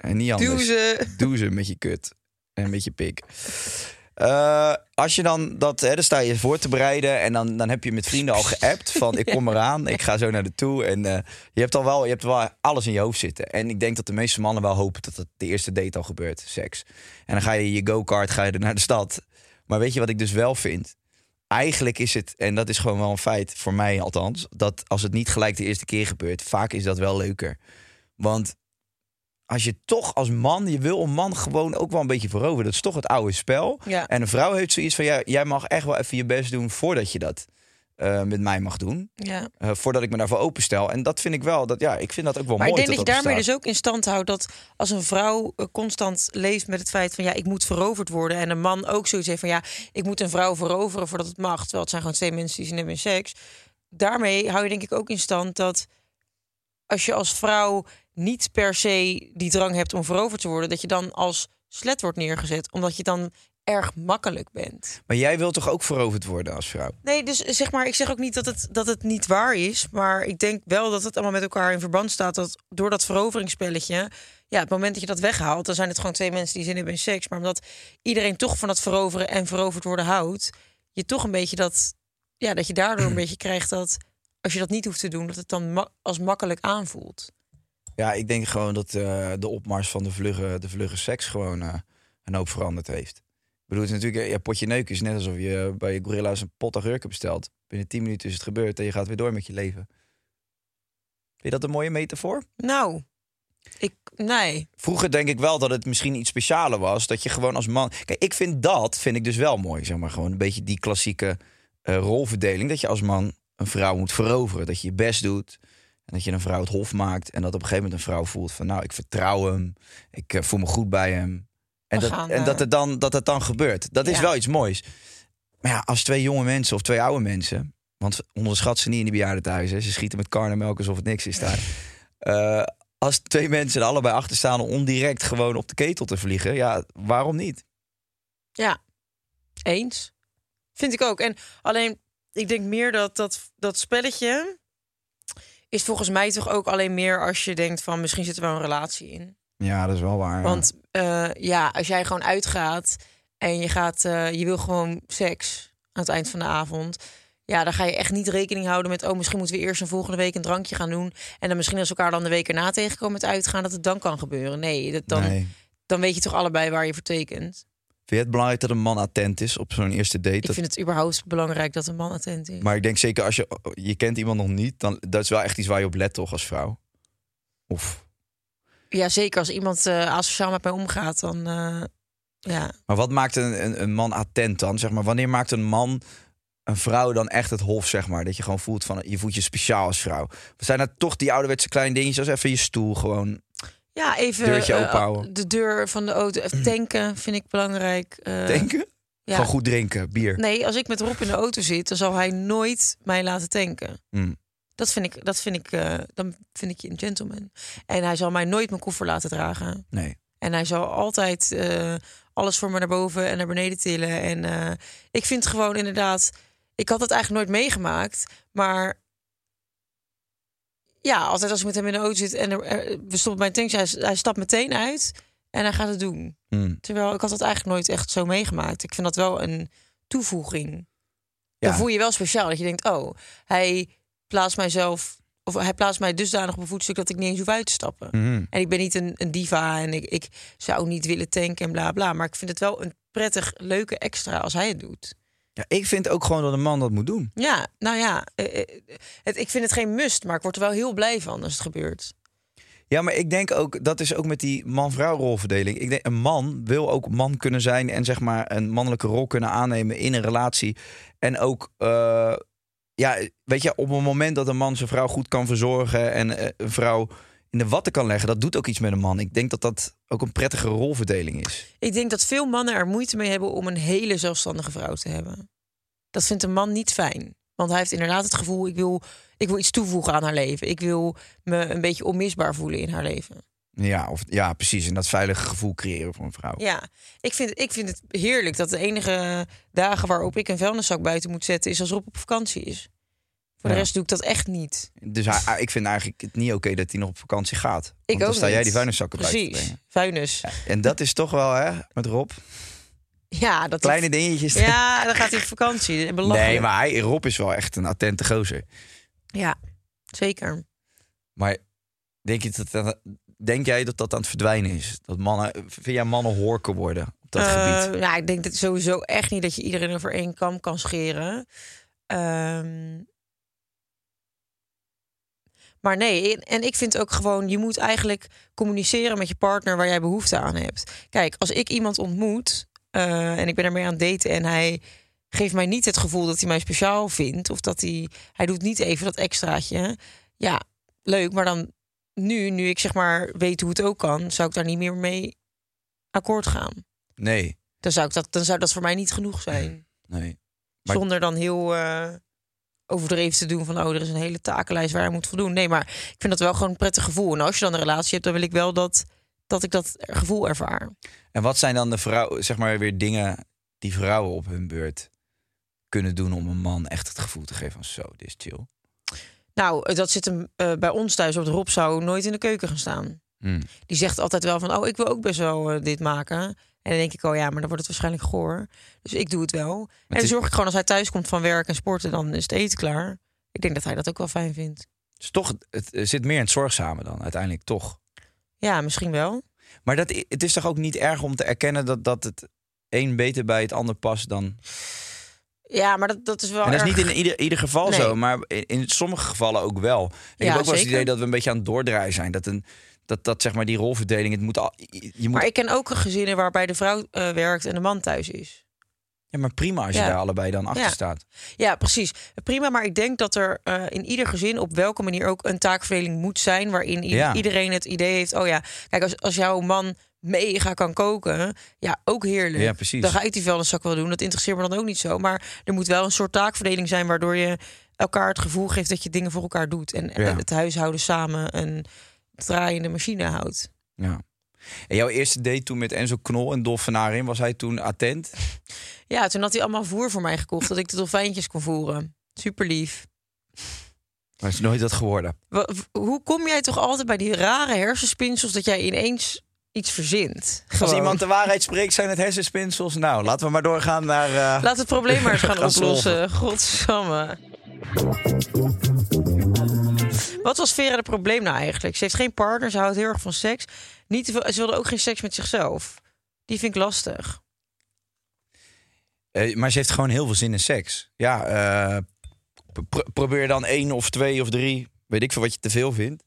[SPEAKER 3] En niet anders.
[SPEAKER 7] Douzen.
[SPEAKER 3] Douzen met je kut. En met je pik. Eh, als je dan dat, hè, dan sta je voor te bereiden en dan, dan heb je met vrienden al geappt van ik kom eraan, ik ga zo naar de toe en eh, je hebt al wel, je hebt wel alles in je hoofd zitten. En ik denk dat de meeste mannen wel hopen dat het de eerste date al gebeurt, seks. En dan ga je je go-kart, ga je er naar de stad. Maar weet je wat ik dus wel vind? Eigenlijk is het, en dat is gewoon wel een feit voor mij althans, dat als het niet gelijk de eerste keer gebeurt, vaak is dat wel leuker. Want als je toch als man, je wil een man gewoon ook wel een beetje veroveren. Dat is toch het oude spel.
[SPEAKER 7] Ja.
[SPEAKER 3] En een vrouw heeft zoiets van, ja, jij mag echt wel even je best doen voordat je dat eh, met mij mag doen.
[SPEAKER 7] Ja.
[SPEAKER 3] eh, voordat ik me daarvoor openstel. En dat vind ik wel, dat, ja, ik vind dat ook wel
[SPEAKER 7] Maar ik
[SPEAKER 3] mooi.
[SPEAKER 7] denk dat je
[SPEAKER 3] dat
[SPEAKER 7] daarmee
[SPEAKER 3] bestaat.
[SPEAKER 7] dus ook in stand houdt dat als een vrouw eh, constant leeft met het feit van ja, ik moet veroverd worden. En een man ook zoiets heeft van ja, ik moet een vrouw veroveren voordat het mag. Terwijl het zijn gewoon twee mensen die zin hebben in seks. Daarmee hou je denk ik ook in stand dat als je als vrouw niet per se die drang hebt om veroverd te worden, dat je dan als slet wordt neergezet. Omdat je dan erg makkelijk bent.
[SPEAKER 3] Maar jij wilt toch ook veroverd worden als vrouw?
[SPEAKER 7] Nee, dus zeg maar, ik zeg ook niet dat het, dat het niet waar is. Maar ik denk wel dat het allemaal met elkaar in verband staat. Dat door dat veroveringsspelletje. Ja, het moment dat je dat weghaalt, dan zijn het gewoon twee mensen die zin hebben in seks. Maar omdat iedereen toch van dat veroveren en veroverd worden houdt. Je toch een beetje dat. Ja, dat je daardoor een beetje krijgt dat. Als je dat niet hoeft te doen, dat het dan ma- als makkelijk aanvoelt.
[SPEAKER 3] Ja, ik denk gewoon dat eh, de opmars van de vlugge, de vlugge seks gewoon eh, een hoop veranderd heeft. Ik bedoel, het is natuurlijk, ja, potje neuken is net alsof je bij Gorilla's een pot agurken bestelt. Binnen 10 minuten is het gebeurd en je gaat weer door met je leven. Vind je dat een mooie metafoor?
[SPEAKER 7] Nou, ik. Nee.
[SPEAKER 3] Vroeger denk ik wel dat het misschien iets specialer was. Dat je gewoon als man... Kijk, ik vind dat, vind ik dus wel mooi. Zeg maar gewoon een beetje die klassieke eh, rolverdeling. Dat je als man een vrouw moet veroveren. Dat je je best doet. En dat je een vrouw het hof maakt. En dat op een gegeven moment een vrouw voelt van... Nou, ik vertrouw hem. Ik eh, voel me goed bij hem. En,
[SPEAKER 7] We
[SPEAKER 3] dat,
[SPEAKER 7] gaan,
[SPEAKER 3] en
[SPEAKER 7] eh,
[SPEAKER 3] dat, het dan, dat het dan gebeurt. Dat is
[SPEAKER 7] Ja.
[SPEAKER 3] wel iets moois. Maar ja, als twee jonge mensen of twee oude mensen... Want onderschat ze niet in die bejaardentehuizen. hè. Ze schieten met karnemelk alsof het niks is daar. Eh, als twee mensen er allebei achter staan om direct gewoon op de ketel te vliegen, ja, waarom niet?
[SPEAKER 7] Ja, eens. Vind ik ook. En alleen, ik denk meer dat dat, dat spelletje is volgens mij toch ook alleen meer als je denkt van misschien zit er wel een relatie in.
[SPEAKER 3] Ja, dat is wel waar.
[SPEAKER 7] Want eh, ja, als jij gewoon uitgaat en je, gaat, eh, je wil gewoon seks aan het eind van de avond. Ja, dan ga je echt niet rekening houden met... oh, misschien moeten we eerst een volgende week een drankje gaan doen. En dan misschien als we elkaar dan de week erna tegenkomen met uitgaan... dat het dan kan gebeuren. Nee, dat, dan,
[SPEAKER 3] Nee.
[SPEAKER 7] dan weet je toch allebei waar je voor tekent.
[SPEAKER 3] Vind je het belangrijk dat een man attent is op zo'n eerste date?
[SPEAKER 7] Ik
[SPEAKER 3] Dat-
[SPEAKER 7] vind het überhaupt belangrijk dat een man attent is.
[SPEAKER 3] Maar ik denk zeker als je, je kent iemand nog niet, dan dat is wel echt iets waar je op let toch als vrouw. Of.
[SPEAKER 7] Ja, zeker als iemand eh asociaal met mij omgaat, dan eh, ja.
[SPEAKER 3] Maar wat maakt een, een, een man attent dan? Zeg maar, wanneer maakt een man een vrouw dan echt het hof, zeg maar? Dat je gewoon voelt van, je voelt je speciaal als vrouw. Wat zijn dat toch die ouderwetse kleine dingetjes als even je stoel gewoon...
[SPEAKER 7] Ja, even
[SPEAKER 3] Deurtje
[SPEAKER 7] eh,
[SPEAKER 3] openhouden.
[SPEAKER 7] de deur van de auto even tanken vind ik belangrijk. Eh,
[SPEAKER 3] Denken?
[SPEAKER 7] ja.
[SPEAKER 3] Gewoon goed drinken, bier.
[SPEAKER 7] Nee, als ik met Rob in de auto zit, dan zal hij nooit mij laten tanken.
[SPEAKER 3] Hmm.
[SPEAKER 7] Dat vind ik, dat vind ik, eh, dan vind ik je een gentleman. En hij zal mij nooit mijn koffer laten dragen.
[SPEAKER 3] Nee.
[SPEAKER 7] En hij zal altijd eh, alles voor me naar boven en naar beneden tillen. En eh, ik vind gewoon inderdaad, ik had het eigenlijk nooit meegemaakt, maar ja, altijd als ik met hem in de auto zit en er, er- we stoppen bij een tankje, hij, hij stapt meteen uit en hij gaat het doen.
[SPEAKER 3] Hmm.
[SPEAKER 7] Terwijl ik had dat eigenlijk nooit echt zo meegemaakt. Ik vind dat wel een toevoeging.
[SPEAKER 3] Ja.
[SPEAKER 7] Dan voel je je wel speciaal dat je denkt, oh, hij plaatst mijzelf of hij plaatst mij dusdanig op een voetstuk dat ik niet eens hoef uit te stappen.
[SPEAKER 3] Mhm.
[SPEAKER 7] En ik ben niet een, een diva en ik, ik zou niet willen tanken en bla bla. Maar ik vind het wel een prettig, leuke extra als hij het doet.
[SPEAKER 3] Ja, ik vind ook gewoon dat een man dat moet doen.
[SPEAKER 7] Ja, nou ja, eh, eh, het, ik vind het geen must, maar ik word er wel heel blij van als het gebeurt.
[SPEAKER 3] Ja, maar ik denk ook, dat is ook met die man-vrouw rolverdeling. Ik denk, een man wil ook man kunnen zijn en zeg maar een mannelijke rol kunnen aannemen in een relatie. En ook, eh, ja, weet je, op het moment dat een man zijn vrouw goed kan verzorgen en eh, een vrouw in de watten kan leggen, dat doet ook iets met een man. Ik denk dat dat ook een prettige rolverdeling is.
[SPEAKER 7] Ik denk dat veel mannen er moeite mee hebben om een hele zelfstandige vrouw te hebben. Dat vindt een man niet fijn. Want hij heeft inderdaad het gevoel, ik wil, ik wil iets toevoegen aan haar leven. Ik wil me een beetje onmisbaar voelen in haar leven.
[SPEAKER 3] Ja, of, ja, precies. En dat veilige gevoel creëren voor een vrouw.
[SPEAKER 7] Ja, ik vind, ik vind het heerlijk dat de enige dagen waarop ik een vuilniszak buiten moet zetten... is als Rob op vakantie is. Voor
[SPEAKER 3] Ja.
[SPEAKER 7] de rest doe ik dat echt niet.
[SPEAKER 3] Dus hij, ik vind eigenlijk het niet oké dat hij nog op vakantie gaat. Want
[SPEAKER 7] Ik
[SPEAKER 3] dan
[SPEAKER 7] ook
[SPEAKER 3] sta
[SPEAKER 7] niet.
[SPEAKER 3] jij die vuilniszakken bij te
[SPEAKER 7] Precies,
[SPEAKER 3] brengen.
[SPEAKER 7] vuilnis. Ja,
[SPEAKER 3] En dat is toch wel, hè, met Rob.
[SPEAKER 7] dat
[SPEAKER 3] Kleine dingetjes.
[SPEAKER 7] Ja, dan gaat hij op vakantie. Belachelijk.
[SPEAKER 3] nee, maar hij, Rob is wel echt een attente gozer.
[SPEAKER 7] Ja, zeker.
[SPEAKER 3] Maar denk, je dat, dat- denk jij dat dat aan het verdwijnen is? Dat mannen, vind jij mannen horken worden op dat
[SPEAKER 7] Eh,
[SPEAKER 3] gebied?
[SPEAKER 7] Ja, ik denk dat sowieso echt niet dat je iedereen over één kam kan scheren. Ehm, maar nee, en- en ik vind ook gewoon, je moet eigenlijk communiceren met je partner waar jij behoefte aan hebt. Kijk, als ik iemand ontmoet eh, en ik ben ermee aan het daten en hij geeft mij niet het gevoel dat hij mij speciaal vindt. Of dat hij... Hij doet niet even dat extraatje. hè. Ja, leuk. Maar dan nu, nu ik zeg maar weet hoe het ook kan... zou ik daar niet meer mee akkoord gaan.
[SPEAKER 3] Nee,
[SPEAKER 7] Dan zou, ik dat, dan zou dat voor mij niet genoeg zijn.
[SPEAKER 3] nee. Maar-
[SPEAKER 7] Zonder dan heel eh, overdreven te doen van... oh, er is een hele takenlijst waar hij moet voldoen. Nee, maar ik vind dat wel gewoon een prettig gevoel. En als je dan een relatie hebt, dan wil ik wel dat, dat ik dat gevoel ervaar.
[SPEAKER 3] En wat zijn dan de vrouwen, zeg maar weer dingen die vrouwen op hun beurt kunnen doen om een man echt het gevoel te geven van zo, dit is chill.
[SPEAKER 7] Nou, eh, dat zit hem eh, bij ons thuis op de Rob zou nooit in de keuken gaan staan.
[SPEAKER 3] Hmm.
[SPEAKER 7] Die zegt altijd wel van, oh, ik wil ook best wel eh, dit maken. En dan denk ik, oh ja, maar dan wordt het waarschijnlijk goor. Dus ik doe het wel. en dan
[SPEAKER 3] is-
[SPEAKER 7] zorg ik gewoon als hij thuis komt van werk en sporten, dan is het eten klaar. Ik denk dat hij dat ook wel fijn vindt.
[SPEAKER 3] Dus toch, het eh, zit meer in het zorgzame dan uiteindelijk toch.
[SPEAKER 7] Ja, misschien wel.
[SPEAKER 3] Maar dat, i- het is toch ook niet erg om te erkennen dat, dat het een beter bij het ander past dan. En
[SPEAKER 7] Ja, maar dat, dat is wel
[SPEAKER 3] dat is
[SPEAKER 7] erg-
[SPEAKER 3] niet in ieder, ieder geval
[SPEAKER 7] Nee.
[SPEAKER 3] zo, maar in, in sommige gevallen ook wel. Ik heb ook wel eens het
[SPEAKER 7] zeker.
[SPEAKER 3] idee dat we een beetje aan het doordraaien zijn. Dat, een, dat, dat zeg maar die rolverdeling, het moet al, je moet
[SPEAKER 7] Maar ik ken ook gezinnen waarbij de vrouw eh, werkt en de man thuis is.
[SPEAKER 3] Ja, maar prima als je
[SPEAKER 7] Ja.
[SPEAKER 3] daar allebei dan achter
[SPEAKER 7] Ja.
[SPEAKER 3] staat.
[SPEAKER 7] Ja, precies. Prima, maar ik denk dat er eh, in ieder gezin op welke manier ook een taakverdeling moet zijn... waarin i-
[SPEAKER 3] Ja.
[SPEAKER 7] iedereen het idee heeft... oh ja, kijk, als, als jouw man mega kan koken, ja, ook heerlijk.
[SPEAKER 3] Ja, precies.
[SPEAKER 7] Dan ga ik die vuilniszak wel doen, dat interesseert me dan ook niet zo. Maar er moet wel een soort taakverdeling zijn... waardoor je elkaar het gevoel geeft dat je dingen voor elkaar doet... en
[SPEAKER 3] Ja.
[SPEAKER 7] en het huishouden samen een draaiende machine houdt.
[SPEAKER 3] Ja. En jouw eerste date toen met Enzo Knol en Dolfenarin, was hij toen attent?
[SPEAKER 7] Ja, toen had hij allemaal voer voor mij gekocht... dat ik de dolfijntjes kon voeren. Super lief.
[SPEAKER 3] Maar is nooit dat geworden.
[SPEAKER 7] Wa- w- Hoe kom jij toch altijd bij die rare hersenspinsels dat jij ineens iets verzint?
[SPEAKER 3] Als
[SPEAKER 7] Gewoon.
[SPEAKER 3] iemand de waarheid spreekt, zijn het hersenspinsels. Nou, laten we maar doorgaan naar... eh,
[SPEAKER 7] Laat het probleem maar eens gaan
[SPEAKER 3] Gaan
[SPEAKER 7] oplossen. Godsamme. Wat was Vera het probleem nou eigenlijk? Ze heeft geen partner, ze houdt heel erg van seks. Niet te veel, ze wilde ook geen seks met zichzelf. Die vind ik lastig.
[SPEAKER 3] eh, maar ze heeft gewoon heel veel zin in seks. Ja, eh, pr- probeer dan één of twee of drie, weet ik veel wat je te veel vindt.